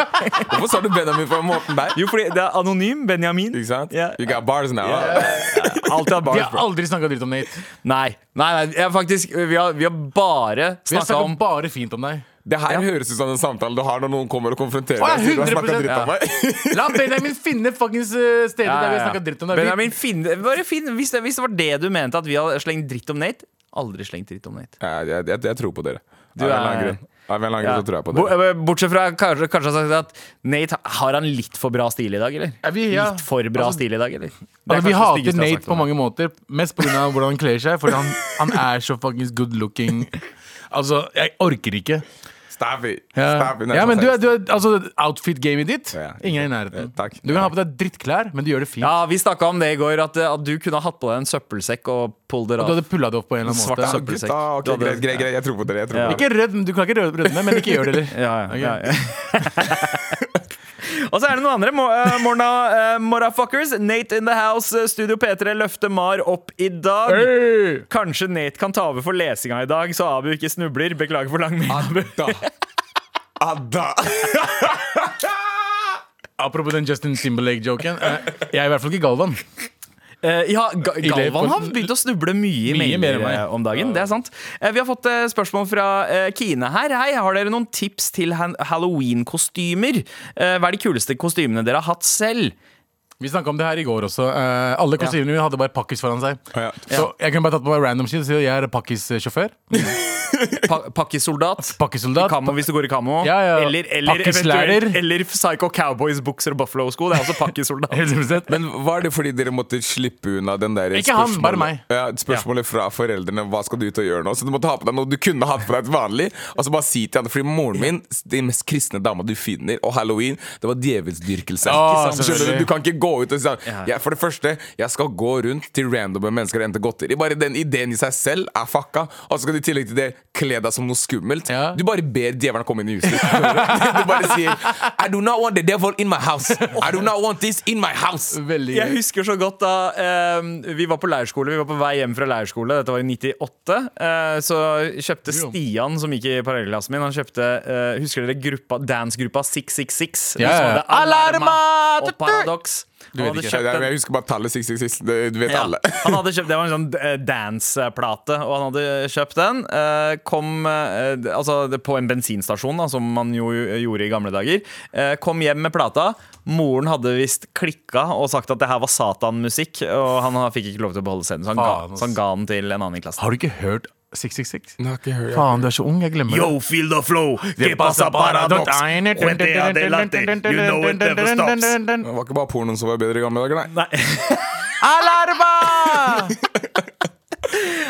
D: Hvorfor sa du Benjamin på den måten der?
B: Jo, fordi det er Anonym Benjamin.
D: Ikke sant?
B: Ja.
D: You got bars now. huh?
B: Alltid hatt
C: De
B: bars,
C: har
B: bro.
C: aldri snakka dritt om Nate.
B: Nei, nei, nei jeg, faktisk, vi har, vi har bare
C: Vi har
B: snakka om
C: snakka bare fint om deg.
D: Det her høres ut som en samtale du har når noen kommer og konfronterer
C: Å, ja,
D: deg. sier Du har snakket
C: 100%.
D: dritt om meg.
C: La Benjamin finne fuckings eh, steder der vi har snakka dritt om deg. Vi-
B: Benjamin, finn, bare finn, hvis, det, hvis det var det du mente, at vi har slengt dritt om Nate Aldri slengt dritt om Nate.
D: Ja, jeg, jeg, jeg tror på dere. Av en
B: er-
D: eller annen grunn. Av en eller annen grunn så tror jeg på
B: Bo-
D: dere.
B: eh, Bortsett fra kanskje, kanskje jeg har sagt at Nate, har han litt for bra stil i dag, eller?
C: Ja, vi- ja.
B: Litt for bra
C: Altså,
B: stil i dag, eller? Det er
C: Altså,
B: kanskje
C: vi
B: det
C: hater
B: styggeste jeg har
C: Nate
B: sagt
C: på
B: om det.
C: mange måter, mest pga. hvordan han kler seg. Fordi han, han er så fuckings good looking. Altså, jeg orker ikke.
D: Staffy!
C: Ja,
D: Staffy,
C: ja men du er, du er altså, outfit-gamet ditt.
D: Ja, ja.
C: Ingen er i nærheten.
D: Ja, takk.
C: Du kan ha på deg drittklær, men du gjør det fint.
B: Ja, Vi snakka om det i går, at, eh, at du kunne hatt på deg en søppelsekk og pulled it
C: Du hadde
B: off.
C: pulla det opp på en eller annen
B: Svart
C: måte.
B: søppel.
D: Gutta, ok,
B: Du hadde-
D: greit, greit, greit, jeg tror på dere. Jeg tror
B: Ja.
D: på dere.
C: Ikke rød, du kan ikke rød- rødme, men ikke gjør det heller.
B: Ja, ja, ja, ja. og så er det noen andre. Mo- eh, Morna eh, Morafuckers. Nate in the house. eh, Studio P3 løfter Mar opp i dag.
C: Hey!
B: Kanskje Nate kan ta over for lesinga i dag, så Abu ikke snubler. Beklager for lang mail, Abu.
D: Ah, Da. Adda!
C: Apropos den Justin Timberlake-joken. eh, Jeg er i hvert fall ikke Galvan.
B: Eh, ja, Ga Galvan
C: Leverpool-
B: har begynt å snuble mye i
C: Mye mer
B: mailer
C: enn meg.
B: eh, om dagen. Det er sant. Eh, vi har fått eh, spørsmål fra eh, Kine her. Hei, har dere noen tips til han- halloween-kostymer? Eh, hva er de kuleste kostymene dere har hatt selv?
C: Vi snakka om det her i går også. Eh, alle kostymene mine hadde bare pakkis foran seg.
D: Ja.
C: Så jeg kunne bare tatt på meg random shit og si at jeg er pakkissjåfør.
B: Pa Pakkisoldat? I
C: Pakkisoldat.
B: Kamo hvis du går i kamo.
C: Ja, ja.
B: Eller, eller
C: Pakkislærer.
B: eventuelt Eller Psycho Cowboys bukser og Buffalo-sko. Det er altså også pakkisoldat.
C: 100%
D: Men var det fordi dere måtte slippe unna den der
C: Ikke han,
D: spørsmålet-
C: bare meg.
D: Ja, spørsmålet fra foreldrene Hva skal du ut og gjøre nå? Så du måtte ha på deg noe du kunne hatt på deg et vanlig. Og så bare si til han Fordi moren min, den mest kristne dama du finner, og halloween, det var djevelsdyrkelse.
C: Å,
D: Ikke sant? Skjønner
C: selvfølgelig.
D: du? du kan ikke gå ut og si sånn ja, For det første, jeg skal gå rundt til randome mennesker og hente godteri. Bare den ideen i seg selv er fucka. Og så skal du i tillegg til det kle deg som noe skummelt.
C: Ja.
D: Du bare ber djevelen komme inn i huset. Du bare sier I do not want the devil in my house. I do not want this in my house.
C: Veldig
B: Jeg husker så godt da eh, vi var på leirskole. Vi var på vei hjem fra leirskole. Dette var i 98. eh, så kjøpte
C: Jo.
B: Stian, som gikk i parallellklassen min, han kjøpte eh, Husker dere gruppa, dansegruppa 666? som
C: Ja, ja, ja.
B: hadde Alarma
C: Alarma!
B: og Paradox. Han hadde
D: Ikke.
B: kjøpt
D: Nei,
B: en
D: men Jeg husker bare tallet 666. Det, du vet
B: ja.
D: alle.
B: han hadde kjøpt, det var en sånn eh, dance-plate, og han hadde kjøpt den. eh, Kom eh, d- altså, det- på en bensinstasjon, da, som man jo eh, gjorde i gamle dager. Eh, Kom hjem med plata. Moren hadde visst klikka og sagt at det her var satanmusikk, og han ha- fikk ikke lov til å beholde scenen, så han,
C: Faen,
B: ga,
C: ass.
B: så han ga den til en annen i klassen.
C: Har du ikke hørt 666?
D: Nå har ikke jeg hørt-
C: Faen, du er så ung. Jeg glemmer det.
B: feel the flow!
C: Que pasa, paradox? Cuente adelante. You know it never stops.
D: Det var ikke bare pornoen som var bedre i gamle dager, nei.
B: Nei.
C: Alarma!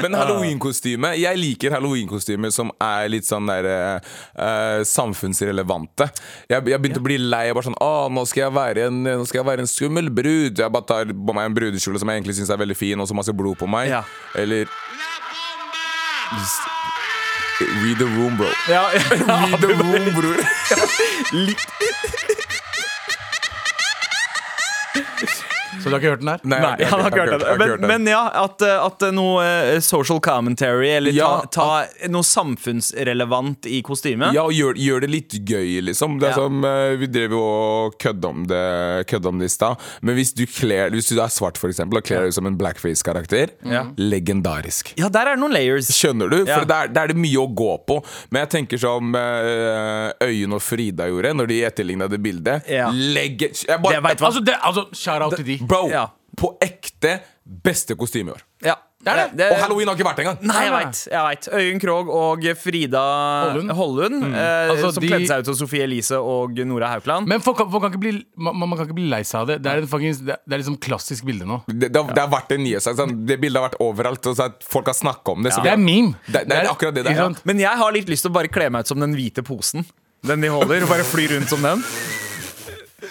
D: Men
B: Ah.
D: halloweenkostyme Jeg liker halloweenkostymer som er litt sånn der eh, eh, samfunnsrelevante. Jeg, jeg begynte å bli lei. Jeg bare sånn Å, nå skal jeg være en, nå skal jeg være en skummel brud. Jeg bare tar på meg en brudekjole som jeg egentlig syns er veldig fin, og så masse blod på meg.
B: Ja.
D: Eller Read the room, bro.
B: Ja,
D: Read the room, bror.
C: Så du har ikke hørt den her?
D: Nei,
B: Nei,
D: jeg
B: han
D: har
B: har ikke hørt
D: jeg har
B: det.
D: hørt
B: Men, men ja, at, eh, at eh, noe eh, social commentary, eller
D: Ja,
B: ta, ta noe samfunnsrelevant i kostymet.
D: Ja, og gjør, gjør det litt gøy, liksom. Det er
B: Ja.
D: som, eh, vi drev jo og kødde om det, kødde om det i stad. Men hvis du, kler, hvis du er svart, for eksempel, og kler deg ut som en blackface-karakter, legendarisk.
B: Ja, der er det noen layers.
D: Skjønner du?
B: Ja.
D: For der, der er det mye å gå på. Men jeg tenker som eh, Øyunn og Frida gjorde når de etterligna det bildet.
B: Ja.
D: Legge, jeg
B: Jeg vet hva-
C: Altså, det, altså shout out til de.
D: Bro,
B: Ja.
D: på ekte beste kostyme i år.
B: Ja.
C: Det er det.
B: Det-
D: Og halloween har ikke vært det engang!
B: Eh, Nei, jeg veit. Jeg vet. Øyunn Krogh og Frida
C: Hollund.
B: Hollund. eh,
C: Altså,
B: som
C: de-
B: kledde seg ut som Sofie Elise og Nora Haukeland.
C: Men folk, kan- folk kan ikke bli, man, man kan ikke bli lei seg av det. Det er, en fucking- det er liksom klassisk bilde nå.
D: Det, det, har- det har vært en nyhetssak. sånn. Det bildet har vært overalt. Og så at folk har snakka om det. så
C: Det er meme.
D: Det- det er akkurat det det er,
C: ikke
D: ja.
C: sant?
B: Men jeg har litt lyst til å bare kle meg ut som den hvite posen. Den de holder. og Bare fly rundt som den.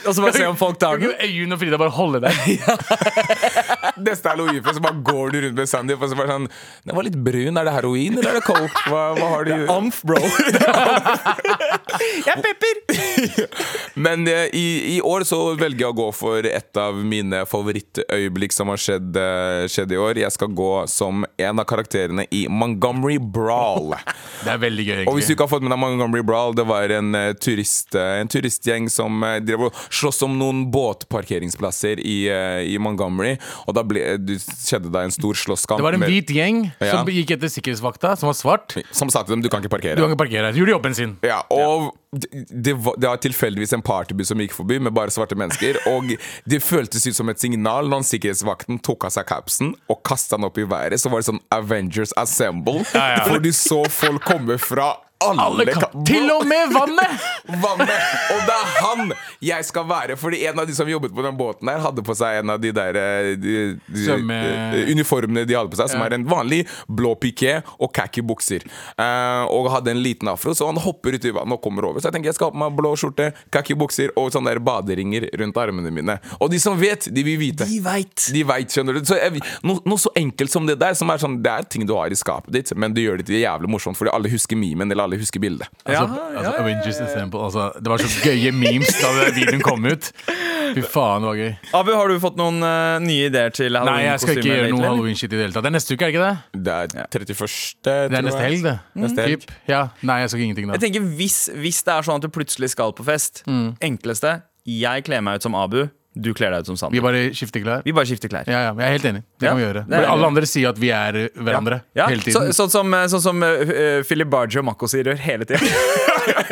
B: Og så bare se om folk tar
C: Kan
B: den.
C: ikke Øyunn og Frida bare holde deg?
D: Neste halloweenfest, så bare går du rundt med Sandy og så bare sånn Den var litt brun. Er det heroin, eller er det coke? Hva, hva har du
B: Amf, bro. jeg er pepper.
D: Men eh, i, i år så velger jeg å gå for et av mine favorittøyeblikk som har skjedd, eh, skjedd i år. Jeg skal gå som en av karakterene i Montgomery Brawl.
C: Det er veldig gøy,
D: Og hvis du
C: egentlig.
D: ikke har fått med deg Montgomery Brawl, det var en, eh, turist, eh, en turistgjeng som eh, drev og sloss om noen båtparkeringsplasser i, eh, i Montgomery. Og da ble, eh, du, skjedde det en stor slåsskamp.
C: Det var en
D: med-
C: hvit gjeng
D: Ja.
C: som gikk etter sikkerhetsvakta, som var svart.
D: Som sa til dem du kan ikke parkere.
C: Du kan ikke parkere her. Gjorde jobben sin.
D: Ja, og Det, det, var, det var tilfeldigvis en partybuss som gikk forbi med bare svarte mennesker. Og det føltes ut som et signal når sikkerhetsvakten tok av seg capsen og kasta den opp i været. Så var det sånn Avengers Assemble. For du så folk komme fra alle,
C: Alle
D: kan-
C: kan Til og med vannet!
D: Vannet! Og det er han jeg skal være! Fordi en av de som jobbet på den båten der, hadde på seg en av de der eh, de, de,
C: Svømme-
D: eh, uniformene de hadde på seg, som er en vanlig blå piké og khaki bukser. Eh, og hadde en liten afro, så han hopper uti vannet og kommer over. Så jeg tenker jeg skal ha på meg blå skjorte, khaki bukser og sånne der baderinger rundt armene mine. Og de som vet, de vil vite.
B: De vet.
D: De vet, skjønner du. Så jeg, no, noe så enkelt som det der, som er sånn Det er ting du har i skapet ditt, men du gjør det til jævlig morsomt fordi alle husker memen, eller alle husker bildet.
C: Altså, altså, Avengers Assemble, altså, det var så gøye memes da den videoen kom ut. Fy faen, det var gøy.
B: Abu, har du fått noen eh, nye ideer til
C: Nei, jeg skal ikke
B: halloween-kostymer
C: gjøre noe
B: lately?
C: halloween-shit i det hele tatt. Det er neste uke, er det ikke det?
D: Det er 31. tror
C: Det
D: jeg.
C: er neste helg, det. Mm.
D: Neste helg.
C: Typ. Ja. Nei, jeg skal ikke ingenting da.
B: Jeg tenker hvis, hvis det er sånn at du plutselig skal på fest
C: Mm.
B: Enkleste Jeg kler meg ut som Abu, du kler deg ut som
C: Vi
B: Sander.
C: bare skifter klær.
B: Vi bare skifter klær.
C: Ja, ja, jeg er helt enig. Det
B: Ja,
C: kan vi gjøre.
B: det er jeg enig i.
C: Alle andre sier at vi er eh, hverandre
B: Ja,
C: hele
B: så,
C: tiden.
B: sånn som, eh, sånn som eh, eh, Philip Bargio og Mako sier hele tida.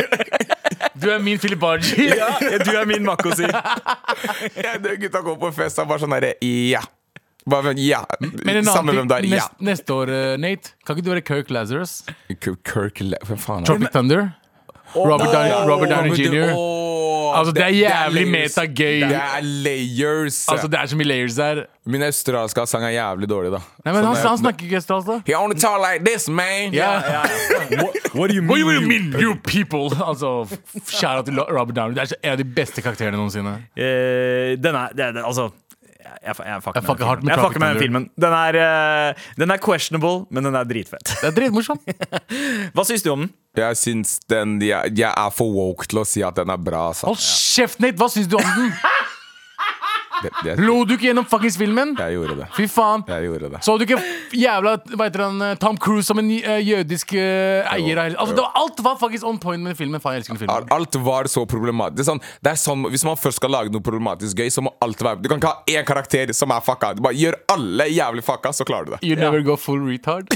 C: Du er min Philip Bargi.
B: du er min Mako sier.
D: Ja, det- Gutta går på fest og bare sånn derre Ja. Bare sånn, ja.
C: Men en
D: Samme
C: annen
D: hvem det er.
C: ting,
D: Ja.
C: nest, neste år, eh, Nate, kan ikke du være Kirk Lazarus?
D: Kirk- Kirk Le- Hva faen er det?
C: Tropic Thunder? Robert, Downey, Robert Downey
D: Robert-
C: Jr.
D: Åh,
C: Altså, det er jævlig
D: layers.
C: metagøy.
D: Det er layers.
C: Altså, det er så mye layers der.
D: Min australske aksent er jævlig dårlig, da.
C: Nei, men han,
D: Sånn,
C: han snakker ikke australsk, da.
D: He only talk like this, man!
C: Ja.
B: What do you
C: What do you mean, you people? Altså, f- shout out til Lo- Robert Downey. Det er så- en av de beste karakterene noensinne.
B: Eh, den er det, det, Altså jeg, jeg, jeg fucker
C: fucker hardt
B: med, den filmen.
C: med
B: jeg fucker med den
C: Tropic
B: filmen. Den er, eh, den er questionable, men den er dritfett.
C: Det er dritmorsomt.
B: Hva syns du om den?
D: Jeg syns den jeg, jeg er for woke til å si at den er bra, altså.
C: Hold kjeft, Nate! Hva syns du om den?
D: Det, det,
C: Lo du ikke gjennom fuckings filmen?
D: jeg gjorde det.
C: Fy faen.
D: Jeg gjorde det.
C: Så du ikke f- jævla hva heter han, eh, Tom Cruise som en eh, jødisk eh, eier? av hele- Altså, det var, alt var faktisk on point med filmen. Faen, jeg elsker den filmen.
D: Al- Alt var så problematisk. Det er sånn, det er sånn, hvis man først skal lage noe problematisk gøy, så må alt være Du kan ikke ha én karakter som er fucka. Du bare gjør alle jævlig fucka, så klarer du det.
C: You never go full retard.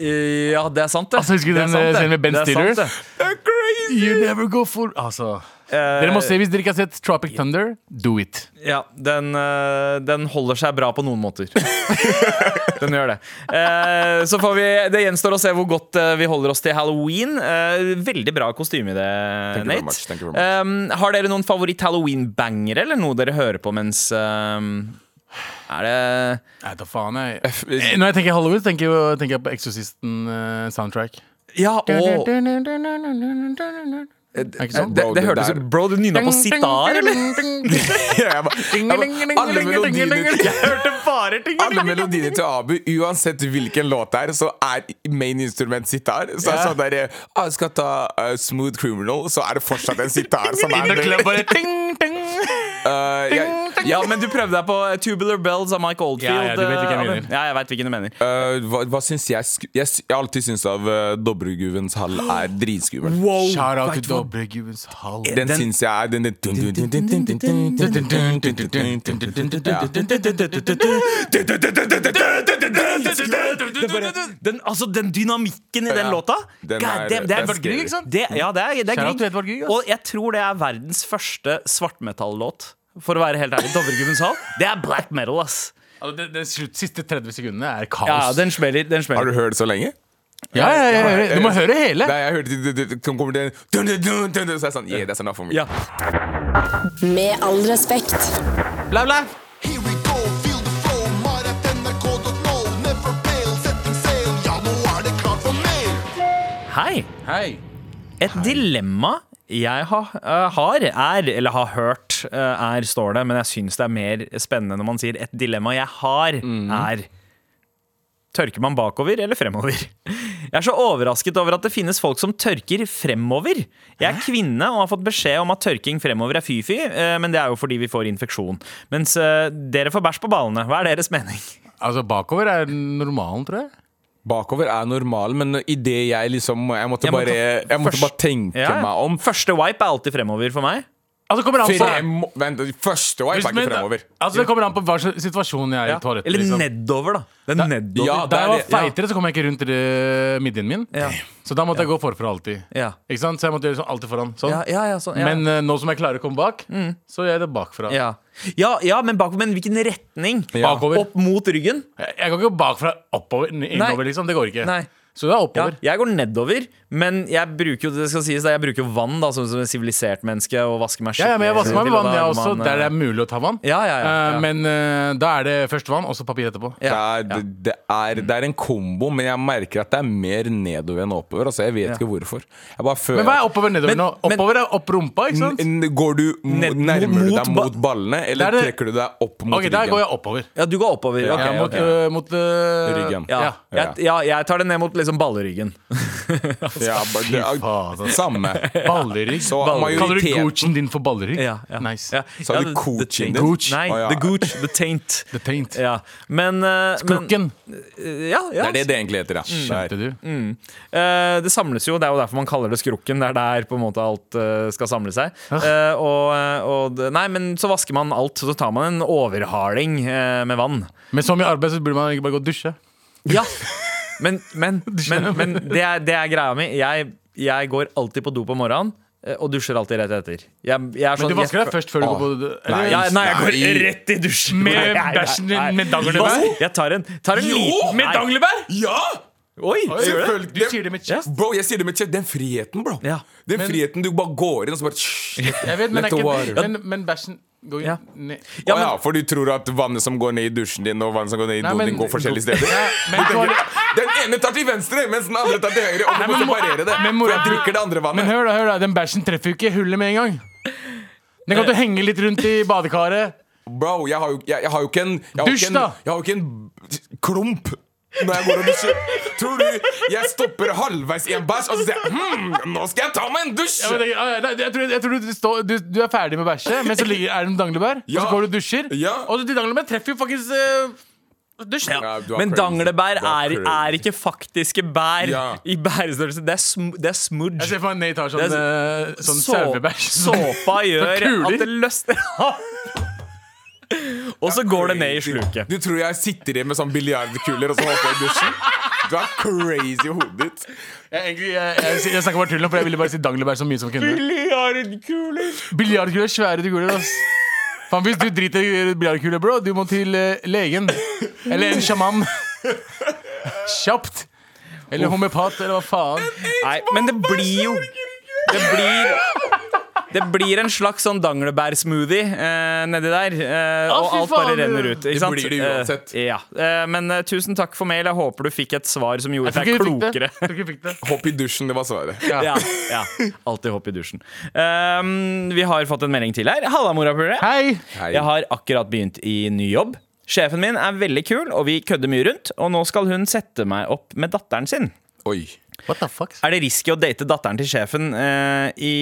B: Eh, Ja, det er sant, det.
C: Altså, husker du
B: Det er
C: den,
B: sant,
C: eh,
B: det.
C: scenen med Ben
B: Det er sant,
C: Stiller?
B: det.
D: Det er crazy!
C: You never go full Altså. Dere må se hvis dere ikke har sett Tropic Thunder. Do it.
B: Eh, Ja, den, eh, den holder seg bra på noen måter. den gjør det. Eh, så får vi Det gjenstår å se hvor godt eh, vi holder oss til halloween. Eh, veldig bra kostyme i det,
D: you very
B: Nate.
D: much, thank you very
B: Eh, har dere noen favoritt-halloween-bangere, eller noe dere hører på mens eh, Er det
C: Nei, da faen jeg Eh, Når jeg tenker Hollywood, tenker jeg, tenker jeg på eh, Exorcisten-soundtrack.
B: Ja, og
C: Er
D: Eh,
C: ikke sånn?
B: det, det hørtes ut Bro, du nynna på sitar, eller?
D: Jeg bare- jeg bare- Alle melodiene
B: Jeg hørte bare ting!
D: alle melodiene til Abu, uansett hvilken låt det er, så er main instrument sitar. Så er det sånn der eh, ah, jeg skal ta eh, Smooth Criminal, så er det fortsatt en sitar som er
C: Bare ting, ting.
D: Eh, jeg-
B: Ja, men du prøvde deg på Tubular Bells av Mike Oldfield.
C: Ja, ja, du vet hvilken jeg
B: eh,
C: mener.
B: Ja, jeg vet hvilken du mener.
D: eh, hva, hva syns jeg sku- Jeg sy- jeg har alltid syntes av uh, Dobreguvens hall er dritskummel.
B: Oh,
C: Shout out til Dobregubens hall.
D: Den,
B: Den-
D: syns jeg er den, den, dun, dun, dun, dun, dun, dun, dun, dun, dun, dun, dun, dun, dun, dun, dun, dun. Ja.
B: Den, altså, den dynamikken i den
D: Ja.
B: låta
D: Den
B: God,
D: er-
B: det, det
D: det
B: er
D: er
B: Edvard
D: scary.
B: Grieg, ikke sant? Det, ja, det er, det er
C: Shout out til
B: Grieg.
C: Edvard Grieg, ass.
B: Og jeg tror det er verdens første svartmetallåt. For å være helt ærlig. Dovregubbens hall. Det er black metal, ass.
C: Altså, det- det slutt- siste 30 sekundene er kaos.
B: Ja, den smeller. Den
D: Har
B: smeller.
D: du hørt det så lenge?
C: Ja, ja, ja, ja, ja. Du må høre hele.
D: Nei, jeg hørte det- det- det- som kommer til dun, dun, dun, dun, dun, Så er jeg sånn Yeah, that's enough for me.
B: Ja.
A: Med all respekt.
B: Blau, blau.
E: Here we go, feel the flow, mar at nrk.no. Never fail, setting sail, ja, nå er det klart for mer.
B: Hei.
C: Hei.
B: Et dilemma jeg har, eh, har, er, eller har hørt, eh, er, står det, men jeg syns det er mer spennende når man sier et dilemma jeg har,
D: Mhm.
B: er Tørker man bakover eller fremover? Jeg er så overrasket over at det finnes folk som tørker fremover. Jeg er kvinne og har fått beskjed om at tørking fremover er fy-fy, eh, men det er jo fordi vi får infeksjon. Mens eh, dere får bæsj på ballene. Hva er deres mening?
C: Altså, bakover er normalen, tror jeg.
D: Bakover er normalen, men i det jeg liksom Jeg måtte
B: Jeg må
D: bare,
B: ta
D: jeg måtte bare
B: først-
D: tenke
B: Ja.
D: meg om.
B: Første wipe er alltid fremover for meg.
C: Altså, kommer an på
D: Frem, vent, første wipe er
C: men-
D: ikke fremover.
C: Altså, det kommer an på hva slags situasjon jeg er i toalettet.
B: Eller
C: liksom.
B: nedover, da. Det er nedover.
D: Ja,
C: Da jeg var
D: det er det,
C: feitere, så kom jeg ikke rundt eh, midjen min.
B: Ja.
C: Så da måtte jeg gå forfra alltid.
B: Ja.
C: Ikke sant? Så jeg måtte gjøre sånn alltid foran. Sånn.
B: Ja, ja, ja, sånn, ja. Mm.
C: Men eh, nå som jeg klarer å komme bak, så gjør jeg det bakfra.
B: Ja, ja, ja men, bakover, men hvilken retning?
D: Ja.
C: Bakover.
B: Opp mot ryggen?
C: Jeg jeg kan ikke bakfra oppover, n- innover,
B: Nei.
C: liksom. Det går ikke.
B: Nei.
C: Så du er
B: Ja,
C: oppover.
B: jeg går nedover, men jeg bruker jo det skal sies, da, jeg bruker jo vann da, som, som en sivilisert menneske og vasker meg
C: Ja, ja, men jeg vasker meg med
B: til, og
C: vann,
B: da
C: jeg
B: må
C: også,
B: man,
C: der det
B: eh,
C: er mulig å ta vann.
B: Ja, ja, ja,
C: Eh,
B: ja.
C: Men eh, da er det først vann, og så papir etterpå.
D: Det
B: Ja,
D: er, det, det, er, det er en kombo, men jeg merker at det er mer nedover enn oppover. Altså, jeg vet ikke hvorfor. Jeg bare føler
C: Men hva er
D: at-
C: oppover nedover
B: Men-
C: nå?
B: men-
C: Oppover er opp rumpa, ikke sant?
D: N- n- Går du mo-
B: Ned-
D: nærmer du
B: mot
D: deg
B: ba-
D: mot ballene, eller
C: Der er det-
D: trekker du deg opp mot
C: Ok, der går
D: ryggen?
C: jeg oppover.
B: ja, du går oppover. ok,
C: ja, mot,
B: ok.
C: øh, mot øh,
D: Ryggen.
B: Ja.
C: Ja.
B: Jeg, ja, jeg tar det ned mot liksom balleryggen.
D: Ja, bare- det er-
C: faen, ass.
D: Samme.
C: Ballerygg.
D: Så
B: Ballerygg.
C: Kaller du
D: majoriteten-
C: Gucci'en din for ballerygg?
B: Ja, ja.
C: Nice.
B: Ja.
D: Sa du
B: the-
D: coachen
B: the taint.
D: din?
C: Coach.
B: Nei,
D: Å, ja.
B: the gooch, the taint.
C: The taint.
B: Ja, men, eh, men
C: Krukken.
B: ja, ja.
D: Det er det det egentlig heter, ja. Det
C: Skjønte
D: er-
C: du?
B: Mm. Eh, det samles jo, det er jo derfor man kaller det skrukken. Det er der på en måte alt eh, skal samle seg. Eh, og, eh, og det- nei, men så vasker man alt, så tar man en overhaling eh, med vann.
C: Men så mye arbeid, så burde man egentlig bare gå og dusje.
B: Ja, men, men, men, men det, er, det er greia mi. Jeg, jeg går alltid på do på morgenen eh, og dusjer alltid rett etter. Jeg, jeg er sånn,
C: Men du vasker deg
B: jeg,
C: først før
D: Ah.
C: du går på
D: Nei,
C: eller-
B: Ja, nei, jeg går
D: Nei.
B: rett i dusjen.
C: Med
B: Nei, nei,
C: bæsjen din,
B: nei.
C: med danglebær?
B: Jo, Jeg tar en, tar en liten
C: Med
B: nei.
C: danglebær?
D: Ja!
B: Oi, gjør du det?
D: Selvfølgelig.
C: Du sier det med chest.
D: Bro, jeg sier det med kjeft. Den friheten, bro.
B: Ja.
D: Den friheten du bare går inn og så bare
C: Jeg vet, men,
D: Let
C: det
D: the
C: er
D: water.
C: ikke, men, men bæsjen går jo
B: Ja.
C: ned.
B: Ja,
D: Å
B: men-
D: ja, for du tror at vannet som går ned i dusjen din, og vannet som går ned i
C: Nei,
D: doen
C: men-
D: din, går forskjellige steder?
C: Ja, men
D: Du tenker,
C: toalett-
D: den ene tar til venstre, mens den andre tar til høyre. Og
C: Nei,
D: du må
C: men mo-
D: separere det.
C: men
D: For
C: mora-
D: jeg drikker det andre
C: Men
D: vannet.
C: hør da, hør da, den bæsjen treffer jo ikke hullet med en gang. Den kan til å henge litt rundt i badekaret.
D: Bro, jeg har jo, jeg, jeg har jo ikke en jeg har jo
C: Dusj,
D: ikke en,
C: da!
D: Jeg har jo ikke en klump når jeg går og dusjer. Tror du jeg stopper halvveis i en bæsj og så sier jeg, hm, nå skal jeg ta meg en dusj?
C: Ja, men det- ja, ja, nei, Jeg tror, jeg tror du, står, du, du er ferdig med bæsje, men så ligger, er det noen danglebær. Og
D: Ja.
C: så går du og dusjer.
D: Ja.
C: Og de danglebær treffer jo faktisk eh, dusjen.
D: Ja, du er
B: Men
D: crazy.
B: danglebær
D: Du er
B: er, er
D: crazy.
B: ikke faktiske bær
D: Ja.
B: i bærestørrelse. Det er, sm det er smudge.
C: Jeg ser for meg Nate har sånn,
B: Det
C: eh, sånn
B: Så-
C: sauebæsj.
B: Såpa gjør
C: kuler.
B: at det løsner av. Og så går det ned i sluket.
D: Du tror jeg sitter igjen med sånn biljardkuler og så hopper jeg i dusjen? Du er crazy i hodet ditt.
C: Jeg, egentlig, jeg, jeg, jeg snakker bare tull nå, for jeg ville bare si danglebær så mye som jeg kunne.
B: Biljardkuler.
C: Biljardkuler er svære til kuler, ass. Faen, hvis du driter i biljardkuler, bro, du må til eh, legen. Eller en sjaman. Kjapt. Eller homeopat, eller hva faen.
B: Nei, men det blir
C: altså,
B: jo Det blir det blir en slags sånn danglebærsmoothie eh, nedi der. Eh, og
C: fy
B: alt bare
C: faen.
B: renner ut. Ikke sant?
D: blir det
B: Eh,
D: uansett.
B: ja. eh, men eh, tusen takk for mail. Jeg håper du fikk et svar som gjorde deg
C: Jeg tror ikke du fikk det.
B: klokere.
C: Jeg tror ikke du fikk det.
D: Hopp i dusjen, det var svaret.
B: Ja, ja. Alltid hopp i dusjen. Ehm, vi har fått en melding til her. Halla, morapulere.
C: Hei!
D: Hei.
B: Jeg har akkurat begynt i ny jobb. Sjefen min er veldig kul, og vi kødder mye rundt. Og nå skal hun sette meg opp med datteren sin.
D: Oi.
C: What the fuck?
B: Er det risky å date datteren til sjefen eh, i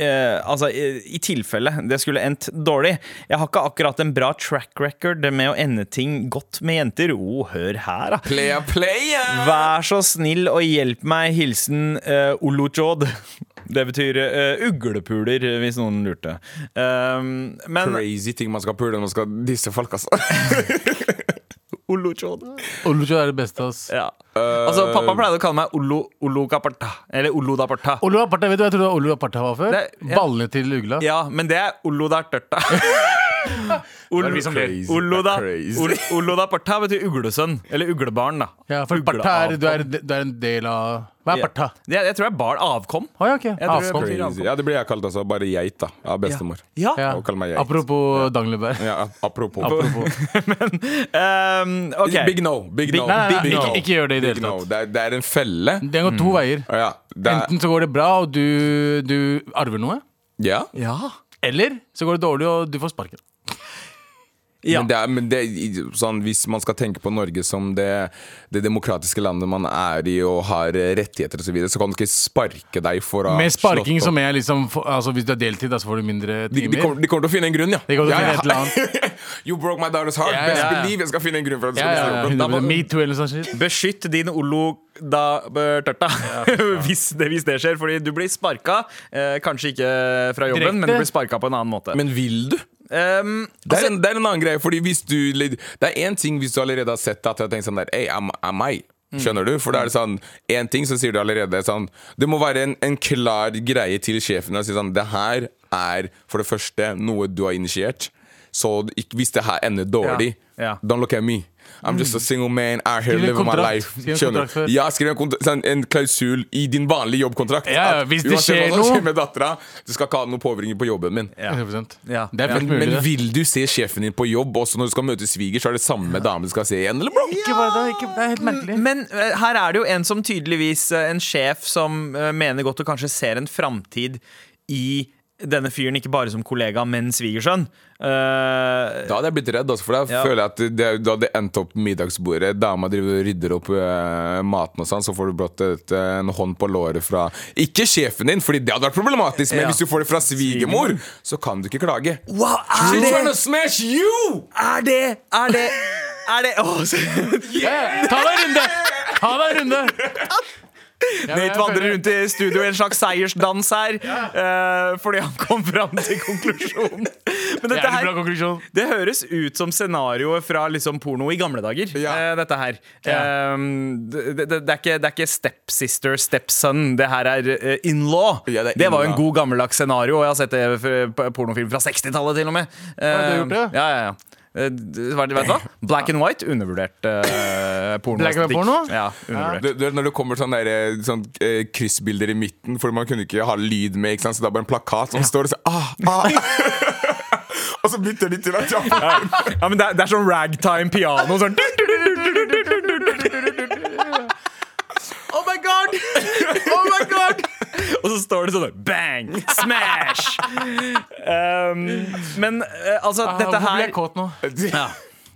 B: eh, altså, i, I tilfelle det skulle endt dårlig. Jeg har ikke akkurat en bra track record med å ende ting godt med jenter. oh, hør her, da.
D: Playa, playa!
B: Vær så snill og hjelp meg. Hilsen uh, Olojod. Det betyr eh, uglepuler, hvis noen lurte. Um, men
D: Crazy ting man skal pule når man skal disse folk, altså.
B: Olojod
C: Olucho er det beste, ass.
B: ja. Altså, pappa pleide å kalle meg Olo, Olo Kaparta. Eller Olo da Parta.
C: Olu Aparta, vet du hva jeg trodde Olu Aparta var før?
B: Det- ja.
C: Ballene til ugla.
B: Ja, men det er Olo da Tørta. Olo,
D: vi som ler.
B: Olo da,
D: Crazy.
B: Ol- Olo da Parta betyr uglesønn. Eller uglebarn, da.
C: Ja, for
B: Ugleavkom.
C: Parta er, du er, du er en del av Hva er Parta?
B: Ja. Jeg, jeg tror det er barn. Avkom.
C: Å ja, ok.
B: tror det
C: Avkom.
B: betyr
D: Crazy. Ja, det blir jeg kalt, altså. Bare geit, da. Av bestemor.
B: Ja.
C: Ja.
D: Og kall meg geit.
C: Apropos danglebær.
D: Ja, apropos.
C: Apropos.
B: Um, ok.
D: Big no. Big no.
B: Nei, nei,
C: nei,
D: Big
C: ikke-
D: no.
C: ikke gjør det i det
D: Big
C: hele
D: no.
C: tatt.
D: Det er, det er en felle.
C: Den går
B: Mm.
C: to veier.
D: Ja, det er,
C: Enten så går det bra, og du, du arver noe.
D: ja.
B: Ja.
C: Eller så går det dårlig, og du får sparken.
B: ja.
D: Men, det er, men det er sånn, hvis man skal tenke på Norge som det, det demokratiske landet man er i og har eh, rettigheter osv., så, videre, så kan du ikke sparke deg for å ha
C: Med sparking
D: slått opp.
C: som er liksom for- Altså Hvis du er deltid, da, så får du mindre
D: de, de,
C: timer.
D: kommer, de kommer til å finne en grunn, ja.
C: De kommer til å
D: ja,
C: finne et eller annet.
D: You broke my daughter's heart.
C: Ja, ja,
D: Best
C: ja.
D: believe jeg skal finne en grunn for at du
C: Ja,
D: skal
C: ja,
D: bli
C: ja,
D: stoppet.
C: 100%. Metoo eller noe sånt. shit.
B: Beskytt din Olo da Tørta hvis, det, hvis det skjer, fordi du blir sparka. Eh, kanskje ikke fra jobben,
C: Direkte.
B: men du blir sparka på en annen måte.
D: Men vil du?
B: Ehm,
D: Det er,
C: Altså-
D: en, det er en annen greie, fordi hvis du Det er én ting hvis du allerede har sett det, at jeg har tenkt sånn der Ei, am, am I? Skjønner du? For da er det sånn Én ting, så sier du allerede sånn Det må være en, en klar greie til sjefen å si sånn Det her er for det første noe du har initiert. Så ikk- hvis det her ender dårlig,
B: Ja. Ja.
D: don't look at me. I'm just a single man out here
C: Mm. Skriv en
D: living my
C: kontrakt.
D: life.
C: Skriv en
D: Skjønner
C: kontrakt før.
D: du? Ja, skriv en, kontrakt, sånn, en klausul i din vanlige jobbkontrakt.
C: Ja, ja, hvis det
D: uansett
C: skjer
D: hva som
C: noe-
D: skjer med dattera, du skal ikke ha noen påvirkning på jobben min.
B: Ja.
C: 100%.
B: Ja.
C: Det er
D: Men,
C: fullt mulig.
D: men
C: det.
D: vil du se sjefen din på jobb også når du skal møte sviger, så er det samme dame du skal se igjen? Eller bro?
C: Ikke bare det, ikke, det er helt merkelig.
B: Men eh, her er det jo en som tydeligvis eh, En sjef som eh, mener godt og kanskje ser en framtid i denne fyren, ikke bare som kollega, men svigersønn. Eh,
D: Da hadde jeg blitt redd, altså, for da
B: Ja.
D: føler jeg at det, da hadde endt opp på middagsbordet. Dama driver og rydder opp eh, maten og sånn, så får du blått et, eh, en hånd på låret fra Ikke sjefen din, fordi det hadde vært problematisk, men
B: Ja.
D: hvis du får det fra svigermor, så kan du ikke klage.
B: wow, er
D: She's trying
B: det
D: to smash you!
B: Er det Er det Er det Åh, så-
C: Ja, ja. Ta deg en runde! Ta deg en runde! Ja, men
B: Nate
C: jeg
B: vandrer
C: føler-
B: rundt i studio i en slags seiersdans her, eh, fordi han kom fram til konklusjonen. Men dette
C: Jævlig bra
B: her
C: konklusjon.
B: det høres ut som scenarioet fra liksom porno i gamle dager.
D: Ja.
B: eh, dette her
C: Ja.
B: Ehm, det, det, det, er ikke, det er ikke stepsister, stepson. Det her er eh, in-law.
D: Ja, det
B: det,
D: er
B: var jo en
D: in-law.
B: god gammeldags scenario. Og jeg har sett det f- på pornofilm fra 60-tallet, til og med.
C: har
B: Ehm,
C: gjort det?
B: Ja, ja, ja Eh, d- hva- Vet du hva? Black and white, undervurdert eh, porno.
C: Black and white porno?
B: Ja, undervurdert.
D: Du, du, vet når det kommer sånne, der, sånn eh, kryssbilder i midten, for man kunne ikke ha lyd med, ikke sant? så det er bare en plakat som står og sier ah, ah. Og så bytter de til at ja.
B: Ja, men det er, det er sånn ragtime piano sånn. Oh my god! Oh my god! Og så står det sånn der, bang, smash! Um, men eh, altså,
C: Ah,
B: dette
C: Hvor ble
B: her
C: jeg kåt nå?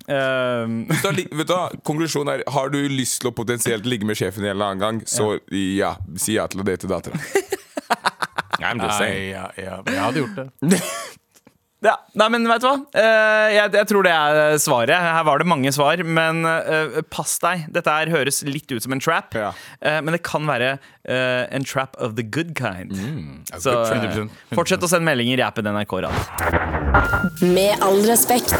B: um,
D: Så li- vet du hva, Konklusjonen er Har du lyst til å potensielt ligge med sjefen en eller annen gang, så ja, si ja til å date dattera. I'm just saying.
C: Nei, ja, ja. men Jeg hadde gjort det.
B: ja, Nei, men vet du hva? Eh, jeg, jeg tror det er svaret. Her var det mange svar, men eh, pass deg. Dette her høres litt ut som en trap,
D: Ja.
B: eh, men det kan være eh, en trap of the good kind. Så
D: Mm, good
B: eh,
C: 100%.
B: fortsett å sende meldinger i appen NRK Radio.
A: Med all respekt.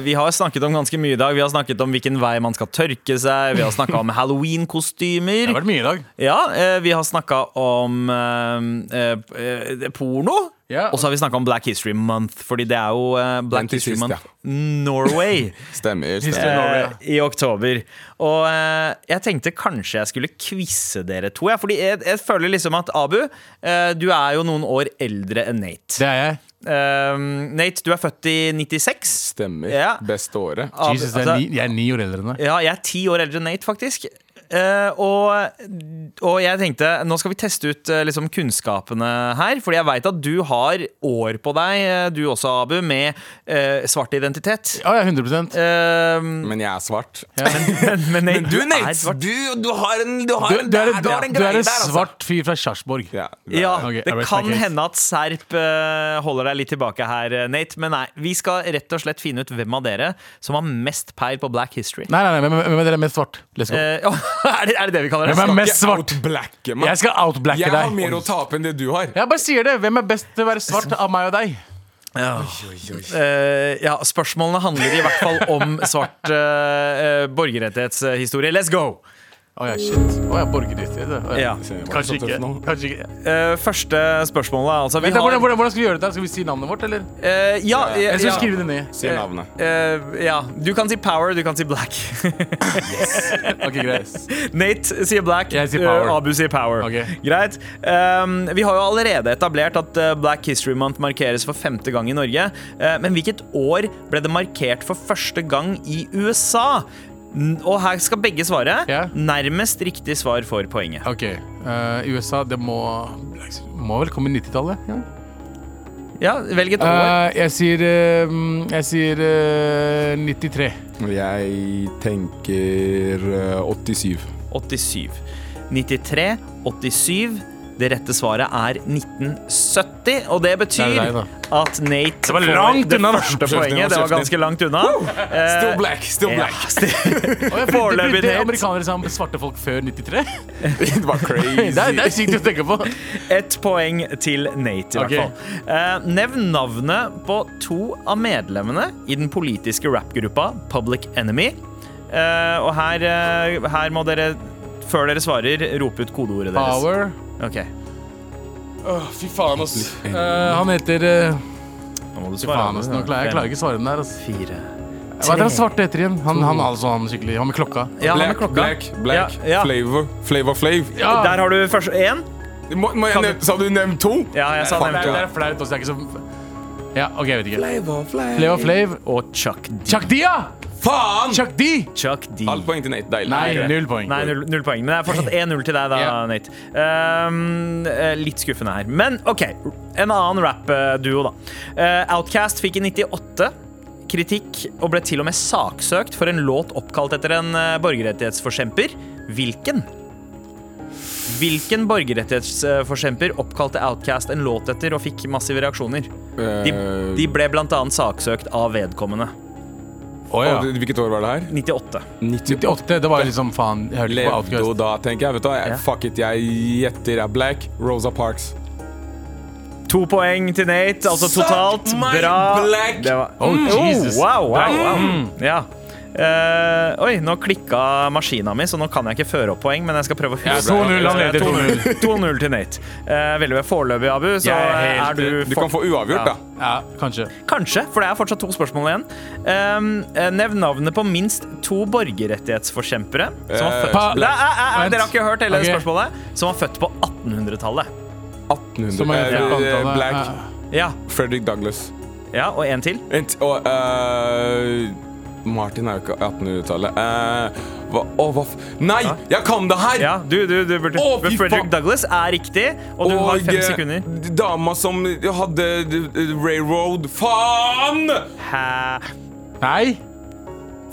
B: Vi har snakket om ganske mye i dag. Vi har snakket om hvilken vei man skal tørke seg. Vi har snakka om
C: Det
B: halloween-kostymer.
C: har vært mye i dag.
B: Ja, eh, Vi har snakka om eh, eh, eh, porno.
C: Ja.
B: Og så har vi snakka om Black History Month, fordi det er jo eh,
D: Den
B: Black
D: til
B: History
D: sist,
B: Month mm, Norway.
D: Stemmer. stemmer.
B: eh, I oktober. Og eh, jeg tenkte kanskje jeg skulle quize dere to. Ja, fordi jeg, jeg føler liksom at Abu, eh, du er jo noen år eldre enn Nate.
C: Det er jeg.
B: Eh, Nate, du er født i 96.
D: Stemmer.
B: Ja.
D: Beste året.
B: Abu-
C: Jesus, det er
B: altså-
C: ni, jeg er ni år eldre enn deg.
B: Ja, jeg er ti år eldre enn Nate, faktisk. Eh, og, og jeg tenkte nå skal vi teste ut eh, liksom kunnskapene her. Fordi jeg veit at du har år på deg, eh, du også, Abu, med eh, svart identitet.
C: Å ja, 100
B: Eh,
D: Men jeg er svart.
B: men, men Nate,
D: Du,
B: er
D: Nate,
B: svart.
D: du, du har en Du har
C: Du,
D: en,
C: du, er,
D: der-
C: en-
D: du har en
C: du er
D: greie der,
C: en
D: altså.
C: svart fyr fra Sarpsborg.
D: Ja, du er-
B: Ja,
C: Ok, I
B: Det
C: rest
B: kan
C: my case.
B: hende at Serp eh, holder deg litt tilbake her, eh, Nate. Men nei, vi skal rett og slett finne ut hvem av dere som har mest peil på black history.
C: Nei, nei, nei, hvem- hvem av dere er mest svart? Let's go.
B: Eh, er, det, er det det vi kaller det?
C: Hvem er mest
D: Jeg
C: svart?
D: outblacke meg.
C: Jeg skal outblacke
D: Jeg har mer
C: deg.
D: å tape enn det du har.
C: Jeg bare sier det. Hvem er best til å være svart av meg og deg?
B: Eh, ja, spørsmålene handler i hvert fall om svart eh, eh, borgerrettighetshistorie. Let's go!
C: Å ja, shit. Å ja, borgerrettigheter. Å
B: Ja.
C: Kanskje ikke. Kanskje ikke.
B: Eh, første spørsmålet er altså vi
C: Vent, da,
B: har-
C: hvordan, hvordan, hvordan skal vi gjøre dette? Skal vi si navnet vårt, eller?
B: Eh, ja, eh,
C: Jeg skal
B: ja.
C: skrive det ned.
D: Si navnet.
B: Eh, ja, du kan si power, du kan si black.
C: Ok, greit.
B: Nate sier black,
C: Jeg sier power.
B: eh, Abu sier power.
C: Ok.
B: Greit. Um, vi har jo allerede etablert at eh, Black History Month markeres for femte gang i Norge. Eh, men hvilket år ble det markert for første gang i USA? N og her skal begge svare.
C: Ja.
B: Nærmest riktig svar får poenget.
C: Ok, eh, USA, det må Må vel komme i 90-tallet? Ja.
B: Ja, Velg et år.
C: Eh, jeg sier eh, mm, Jeg sier eh, 93.
D: Jeg tenker eh, 87.
B: 87. 93, 87. Det rette svaret er 1970, og det betyr
C: Det er deg,
B: at Nate
C: var langt
B: det
C: unna, da.
B: første poenget. Det var ganske langt unna. Eh,
D: Still black, still
B: Ja,
D: black.
B: sti-
C: Og jeg
B: Foreløpig
C: brukte
B: Nate.
C: amerikanere sammen med svarte folk før 93.
D: Det var
C: Det er, det
D: crazy.
C: er sykt å tenke på.
B: Ett poeng til Nate, i hvert
C: Ok.
B: fall. Eh, nevn navnet på to av medlemmene i den politiske rappgruppa Public Enemy. Eh, og her, eh, her må dere, før dere svarer, rope ut kodeordet deres.
C: Power.
B: Ok.
C: Åh, fy faen, ass. Eh, han heter eh,
B: Nå må du svare.
C: Faen, ass, nå klarer, jeg klarer ikke å svare den der. ass.
B: Fire
C: Hva heter han svarte etter igjen? Han, han altså, han skikkelig. Han med klokka.
B: Ja, han med
D: Black,
B: klokka.
D: black, black.
B: Ja, ja.
D: Flavor, flavor, flav.
B: Der har du først én.
D: Må, må jeg nev- sa du nevn to?
B: Ja, jeg sa
D: Fuck,
B: nevnt
C: Det er,
D: ja.
C: det er flaut også. Jeg er ikke så Ja, OK, jeg vet ikke.
D: Flavor, flav.
C: Flav og Flav.
B: Og Chuck D.
C: Chuck D, ja!
D: Faen!
C: Chuck D!
B: Chuck D.
D: Alt poeng til Nate. Deilig.
C: Nei, null poeng.
B: Nei, null, null poeng. Men det er fortsatt 1-0 til deg, da,
C: Ja.
B: Nate. Ehm, eh, litt skuffende her. Men OK. En annen rap-duo, da. Uh, Outcast fikk i 98 kritikk og ble til og med saksøkt for en låt oppkalt etter en eh, borgerrettighetsforkjemper. Hvilken? Hvilken borgerrettighetsforkjemper oppkalte Outcast en låt etter og fikk massive reaksjoner? De,
D: Eh,
B: de ble blant annet saksøkt av vedkommende.
C: Å ja.
D: og det- Hvilket år var det her?
B: 98.
C: 98, det var liksom faen. Jeg hørte ikke på
D: Levde jo
C: Outcast.
D: da, tenker jeg. Vet du, hva,
B: Ja.
D: jeg fuck it, jeg gjetter. Jeg er black. Rosa Parks.
B: To poeng til Nate, altså
D: Suck
B: totalt.
D: my
B: Bra.
D: black.
B: Det var- Mm.
C: Oh, Jesus.
B: wow, wow, wow. Ja. Eh, oi, nå klikka maskina mi, så nå kan jeg ikke føre opp poeng. Men jeg skal prøve å huske
C: 2-0, han leder 2-0.
B: 2-0 til Nate. Eh, veldig bra. Foreløpig, Abu, så
C: Jeg er
B: er
C: helt-
B: du
D: Eh, Du kan få uavgjort, da.
C: Ja, kanskje.
B: Kanskje, for det er fortsatt to spørsmål igjen. Eh, nevn navnet på minst to borgerrettighetsforkjempere som var
D: Eh,
B: født
C: Pa-
B: Nei, nei, nei,
C: Vent.
B: Dere har ikke hørt hele
C: Ok.
B: spørsmålet. Som var født på 1800-tallet.
D: 1800.
C: Som er
D: Eh,
C: antallet.
D: eh, black.
C: Ja.
B: Ja,
D: Frederick Douglass.
B: ja, og en til.
D: Vent, og eh, Martin er jo ikke 1800-tallet. Eh, hva, å, hva f... Nei, jeg kan det her!
B: Ja, du, du, du burde
D: Å, fy
B: Frederick
D: faen.
B: Douglas er riktig, og du har fem
D: eh,
B: sekunder.
D: dama som hadde eh, railroad Faen!
B: Hæ?
C: Nei.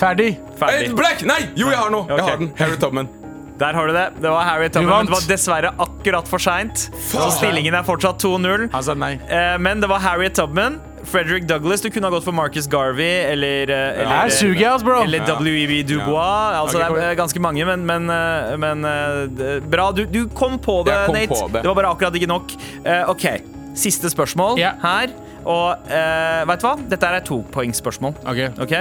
C: Ferdig.
D: Eh,
B: Ferdig.
D: Black! Nei! Jo, jeg har noe.
B: Ok.
D: Jeg har den. Harry Tubman.
B: Der har du det. Det var Harry
C: Du
B: Tubman.
C: vant.
B: men Det var dessverre akkurat for seint. Så stillingen er fortsatt 2-0.
C: Han sa nei.
B: Eh, Men det var Harry Tubman. Frederick Douglas. Du kunne ha gått for Marcus Garvey eller, eh,
C: Her
B: eller
C: suger jeg, ass, bro.
B: eller W.E.B. Du Bois. Altså,
C: Ok,
B: det er
C: cool.
B: eh, ganske mange, men, men, eh, men eh, d- Bra. Du, du kom på det,
D: Jeg kom
B: Nate.
D: på det.
B: var bare akkurat ikke nok. Eh, OK. Siste spørsmål
C: Ja.
B: her. Og uh, veit du hva? Dette her er topoengsspørsmål.
C: Ok.
B: Ok?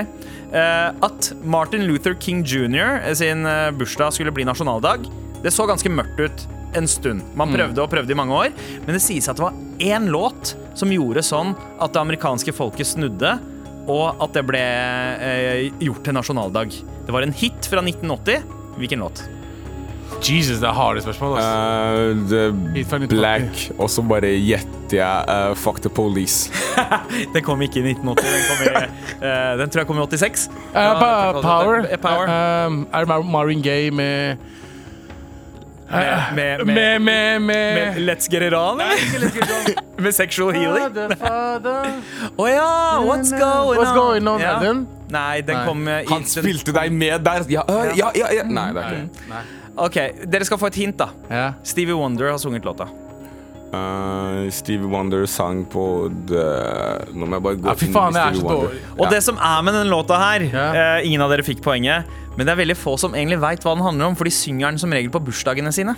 B: Eh, at Martin Luther King jr. sin eh, bursdag skulle bli nasjonaldag, det så ganske mørkt ut en stund. Man prøvde og prøvde i mange år, men det sies at det var én låt som gjorde sånn at det amerikanske folket snudde, og at det ble eh, gjort til nasjonaldag. Det var en hit fra 1980. Hvilken låt?
C: Jesus, det er harde spørsmål. ass.
D: Eh, the
C: Hit fra 1980.
D: black. Og så bare gjetter jeg eh, Fuck the police.
B: Den kom ikke i 1980. Den, kom i, eh, den tror jeg kom i 86.
C: Eh, pa-
B: Ja,
C: power.
B: eh, Power.
C: Eh, um, er det Mar- Marvin Gaye med
B: Med, med, med,
C: Med, med, med
B: Let's Get It On? eller? med Sexual Healing? Å ja! What's going on?
C: What's going on,
B: Ja.
C: er den?
B: Nei, den
C: Nei.
B: kom eh, i
D: Han
B: den-
D: spilte deg med der! Ja, eh, ja, ja, ja. Nei, det er ikke det.
B: Ok, Dere skal få et hint, da.
C: Ja.
B: Stevie Wonder har sunget låta.
D: Eh, Stevie Wonder sang på the... Nå må jeg bare gå
C: Ja, fy faen, jeg er så dårlig.
B: Og det som er med den låta her
C: Ja.
B: eh, Ingen av dere fikk poenget, men det er veldig få som egentlig veit hva den handler om, for de synger den som regel på bursdagene sine.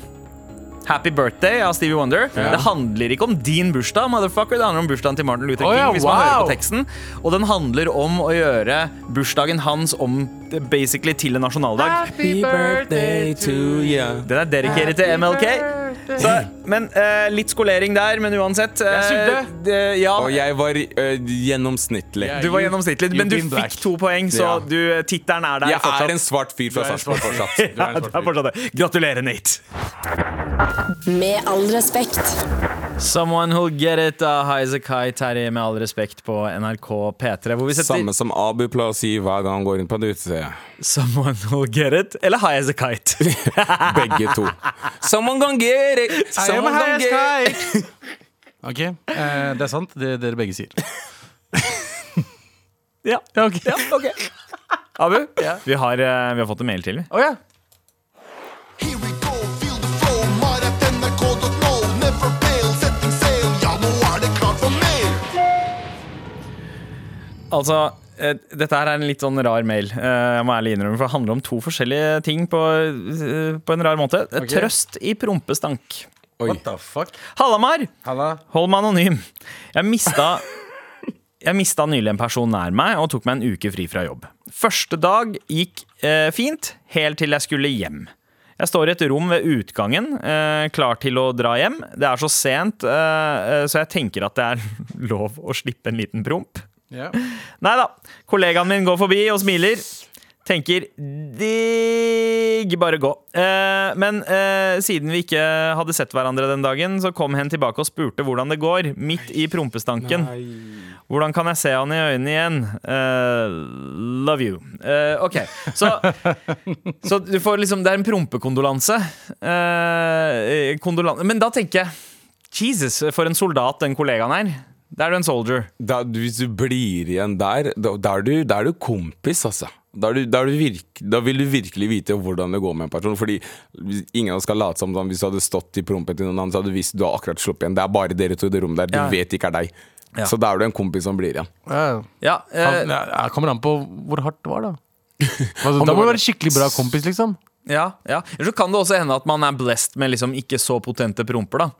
B: Happy birthday av Stevie Wonder. Det handler ikke om din bursdag, motherfucker. Det handler om bursdagen til Martin Luther
C: Å
B: King,
C: ja,
B: hvis man
C: wow.
B: hører på teksten. Og den handler om å gjøre bursdagen hans om eh, basically til en nasjonaldag.
C: Happy birthday to you.
B: Den er dedikert til MLK. Så, men eh, litt skolering der, men uansett. eh,
C: sugde.
B: det- ja,
D: Og jeg var eh, gjennomsnittlig.
C: Jeg-
B: du var gjennomsnittlig, men du
C: You've been
B: fikk to poeng, så
D: Ja.
B: du, eh, tittelen er der
D: Jeg
B: fortsatt.
D: er en svart fyr fra
C: Du er en
D: Sarpsborg
C: svart fyr.
D: fortsatt.
C: Du
B: Ja,
C: er en
B: det er
C: svart fyr.
B: fortsatt det. Gratulerer, Nate.
A: Med all respekt.
B: Someone who'll get it av Highasakite Terje, med all respekt, på NRK P3. Hvor vi setter
D: Samme som Abu pleier å si hver gang han går inn på et utested.
B: Someone who'll get it, eller Highasakite.
D: Begge to. Someone gonna get it! Someone gonna get it!
C: OK, eh, det er sant, det dere begge sier.
B: ja.
C: Ja, ok.
B: ja, ok. Abu, vi, har, eh, vi har fått en mail til. vi.
C: Å ja.
E: Here we go, feel the flow, mar at nrk.no. Never fail, setting sail, ja, nå er det klart for mer.
B: Altså, eh, dette her er en litt sånn rar mail, eh, jeg må ærlig innrømme, for det handler om to forskjellige ting på, eh, på en rar måte. Eh, Trøst i prompestank.
C: What the Ah, fuck?
B: Hallamar!
C: Halla.
B: Hold meg anonym. Jeg mista jeg mista nylig en person nær meg og tok meg en uke fri fra jobb. Første dag gikk eh, fint, helt til jeg skulle hjem.
F: Jeg står i et rom ved utgangen, eh, klar til å dra hjem. Det er så sent, eh, eh, så jeg tenker at det er lov å slippe en liten promp.
C: Ja.
F: Nei da. Kollegaen min går forbi og smiler. Tenker digg, bare gå. Eh, men eh, siden vi ikke hadde sett hverandre den dagen, så kom hen tilbake og spurte hvordan det går, midt i prompestanken. Hvordan kan jeg se han i øynene igjen? Eh, love you. Eh, OK. Så, så du får liksom Det er en prompekondolanse. Eh, kondolan- men da tenker jeg Jesus, for en soldat den kollegaen er. Da er du en soldier.
D: Da, du- hvis du blir igjen der, da, da, er, du, da er du kompis, altså. Da, er du, da, er du virk, da vil du virkelig vite hvordan det går med en person. Fordi hvis- ingen av oss skal late som om hvis du hadde stått i prompen til noen annen, så hadde du visst du har akkurat sluppet igjen. Det er bare dere to i det rommet der. Du
F: Ja.
D: vet ikke er deg. Så da er du en kompis som blir igjen.
C: Ja.
B: Ja, eh,
C: Han, jeg kommer an på hvor hardt det var, da. Altså, da må du være skikkelig bra kompis, liksom.
B: Ja, ja. Eller så kan det også hende at man er blessed med liksom ikke så potente promper. da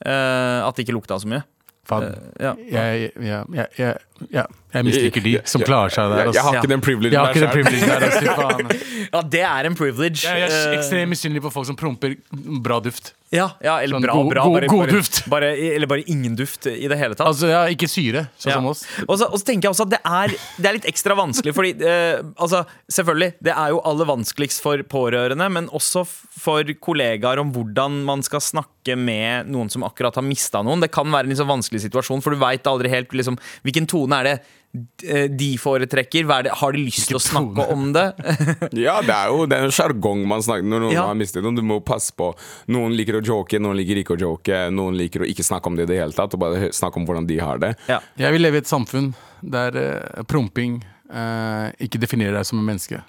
B: Eh, At det ikke lukta så mye.
C: Faen.
B: Eh, Ja.
C: Jeg, jeg, jeg, jeg, jeg, jeg misliker de som
D: Jeg-
C: klarer seg der.
D: Jeg, jeg har
C: ass.
D: ikke den privilegien
C: Jeg har ikke den
D: selv.
C: privilegien der. ass, fy faen.
B: Ja, det er en privilege.
C: Jeg jeg er
B: Eh,
C: ekstremt misunnelig på folk som promper bra duft.
B: ja, ja, eller
C: Sånn
B: bra,
C: god-
B: bra.
C: god-
B: bare,
C: god
B: bare,
C: duft.
B: Bare, eller bare ingen duft i det hele tatt.
C: Altså, ja, ikke syre, sånn
B: Ja.
C: som oss.
B: Og så, og så tenker jeg også at det er, det er litt ekstra vanskelig, fordi eh, altså, selvfølgelig, det er jo aller vanskeligst for pårørende, men også f- for kollegaer om hvordan man skal snakke med noen som akkurat har mista noen. Det kan være en litt sånn vanskelig situasjon, for du veit aldri helt liksom, hvilken tone er det eh, de foretrekker. Hva er det, har de lyst til å
C: Hvilken
B: snakke om det?
D: Ja, det er jo det er en sjargong man snakker når noen
B: Ja.
D: har mistet noen. Du må passe på. Noen liker å joke, noen liker ikke å joke. Noen liker å ikke snakke om det i det hele tatt, og bare hø- snakke om hvordan de har det.
B: Ja.
C: Jeg vil leve i et samfunn der eh, promping eh, ikke definerer deg som en menneske.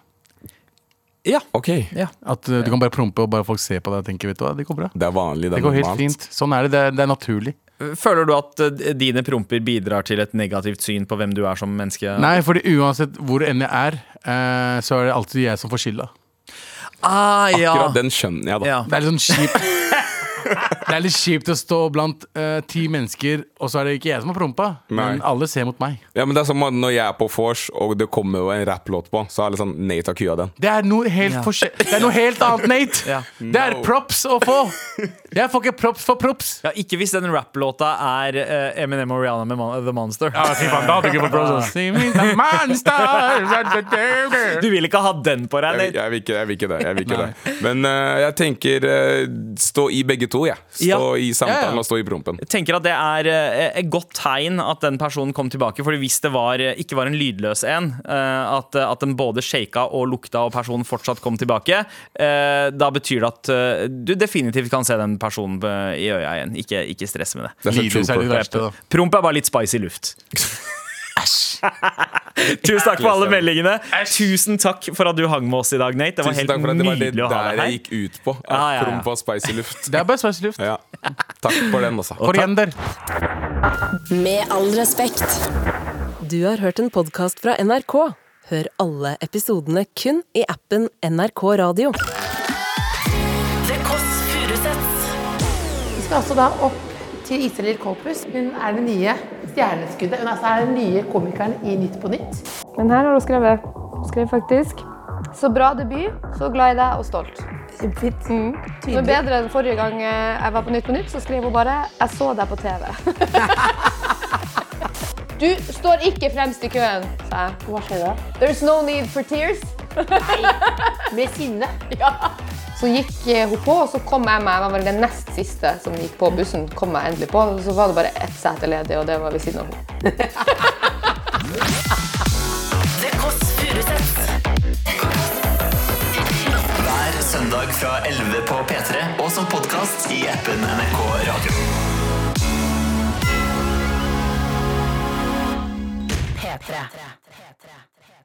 B: ja.
D: Ok,
B: ja.
C: At eh, du kan bare prompe, og bare folk ser på deg og tenker vet du hva, det går bra.
D: det er vanlig. Det
C: Det
D: er
C: går helt
D: normalt.
C: fint. Sånn er det. Det er, det er naturlig.
B: Føler du at eh, dine promper bidrar til et negativt syn på hvem du er som menneske?
C: Nei, fordi uansett hvor enn jeg er, eh, så er det alltid jeg som får skylda.
B: Ah, ja.
D: Akkurat den skjønner jeg, da.
B: Ja.
C: Det er litt sånn kjipt. Det er litt kjipt å stå blant eh, ti mennesker, og så er det ikke jeg som har prompa.
D: Nei.
C: Men alle ser mot meg.
D: Ja, men det er som at når jeg er på vors, og det kommer jo en rapplåt på, så er det sånn Nei takk, kua den.
C: Det er noe helt,
B: Ja.
C: forskjell- det er noe helt annet, Nate.
B: Ja.
C: Det er props å få. Jeg får ikke props for props.
B: Ja, ikke hvis den rapplåta er eh, Eminem og Rihanna med Mon The Monster.
C: See me the monster.
B: Du vil ikke ha den på deg?
D: Jeg, vil-
B: Det.
D: jeg, vil ikke, jeg vil ikke det. Jeg vil ikke det. Men eh, jeg tenker eh, stå i begge to, jeg. Stå
B: Ja.
D: i samtalen
C: Ja, ja.
D: og stå i prompen.
B: Jeg tenker at det er eh, et godt tegn at den personen kom tilbake. Fordi hvis det var, eh, ikke var en lydløs en, eh, at, at den både shaka og lukta, og personen fortsatt kom tilbake, eh, da betyr det at eh, du definitivt kan se den personen eh, i øya igjen. Ikke, ikke stress med det.
D: Det er så
C: Lidelse er
D: trooper.
C: det verste, da.
B: Promp er bare litt spicy luft. Tusen takk for alle meldingene. Tusen takk for at du hang med oss i dag, Nate. Det var
D: Tusen
B: helt
D: takk for at det var det
B: nydelig å ha
D: der
B: deg
D: jeg
B: her.
D: gikk ut på. At
B: Ja, ja, ja.
D: promp var spicy luft.
C: Det er bare sveis luft.
D: Ja. Takk for den, altså.
C: Koriander.
A: Med all respekt.
G: Du har hørt en podkast fra NRK. Hør alle episodene kun i appen NRK Radio.
H: Vi skal også altså da opp til Isalill Kolpus. Hun er det nye stjerneskuddet. Hun er altså den nye komikeren i Nytt på nytt.
I: Men her har hun skrevet. Hun skrev faktisk Så bra debut, så glad i deg og stolt. Mm. Noe bedre enn forrige gang eh, jeg var på Nytt på Nytt, så skrev hun bare Jeg så deg på TV. du står ikke fremst i køen, sa jeg.
H: Hva skjer da?
I: There's no need for tears.
H: Med sinne.
I: Så gikk eh, hun på, og så kom jeg meg. Jeg var vel den nest siste som gikk på bussen. kom jeg endelig på, og Så var det bare ett sete ledig, og det var ved siden av henne.
J: Hver søndag fra 11 på P3 og som podkast i appen NRK Radio.
A: P3.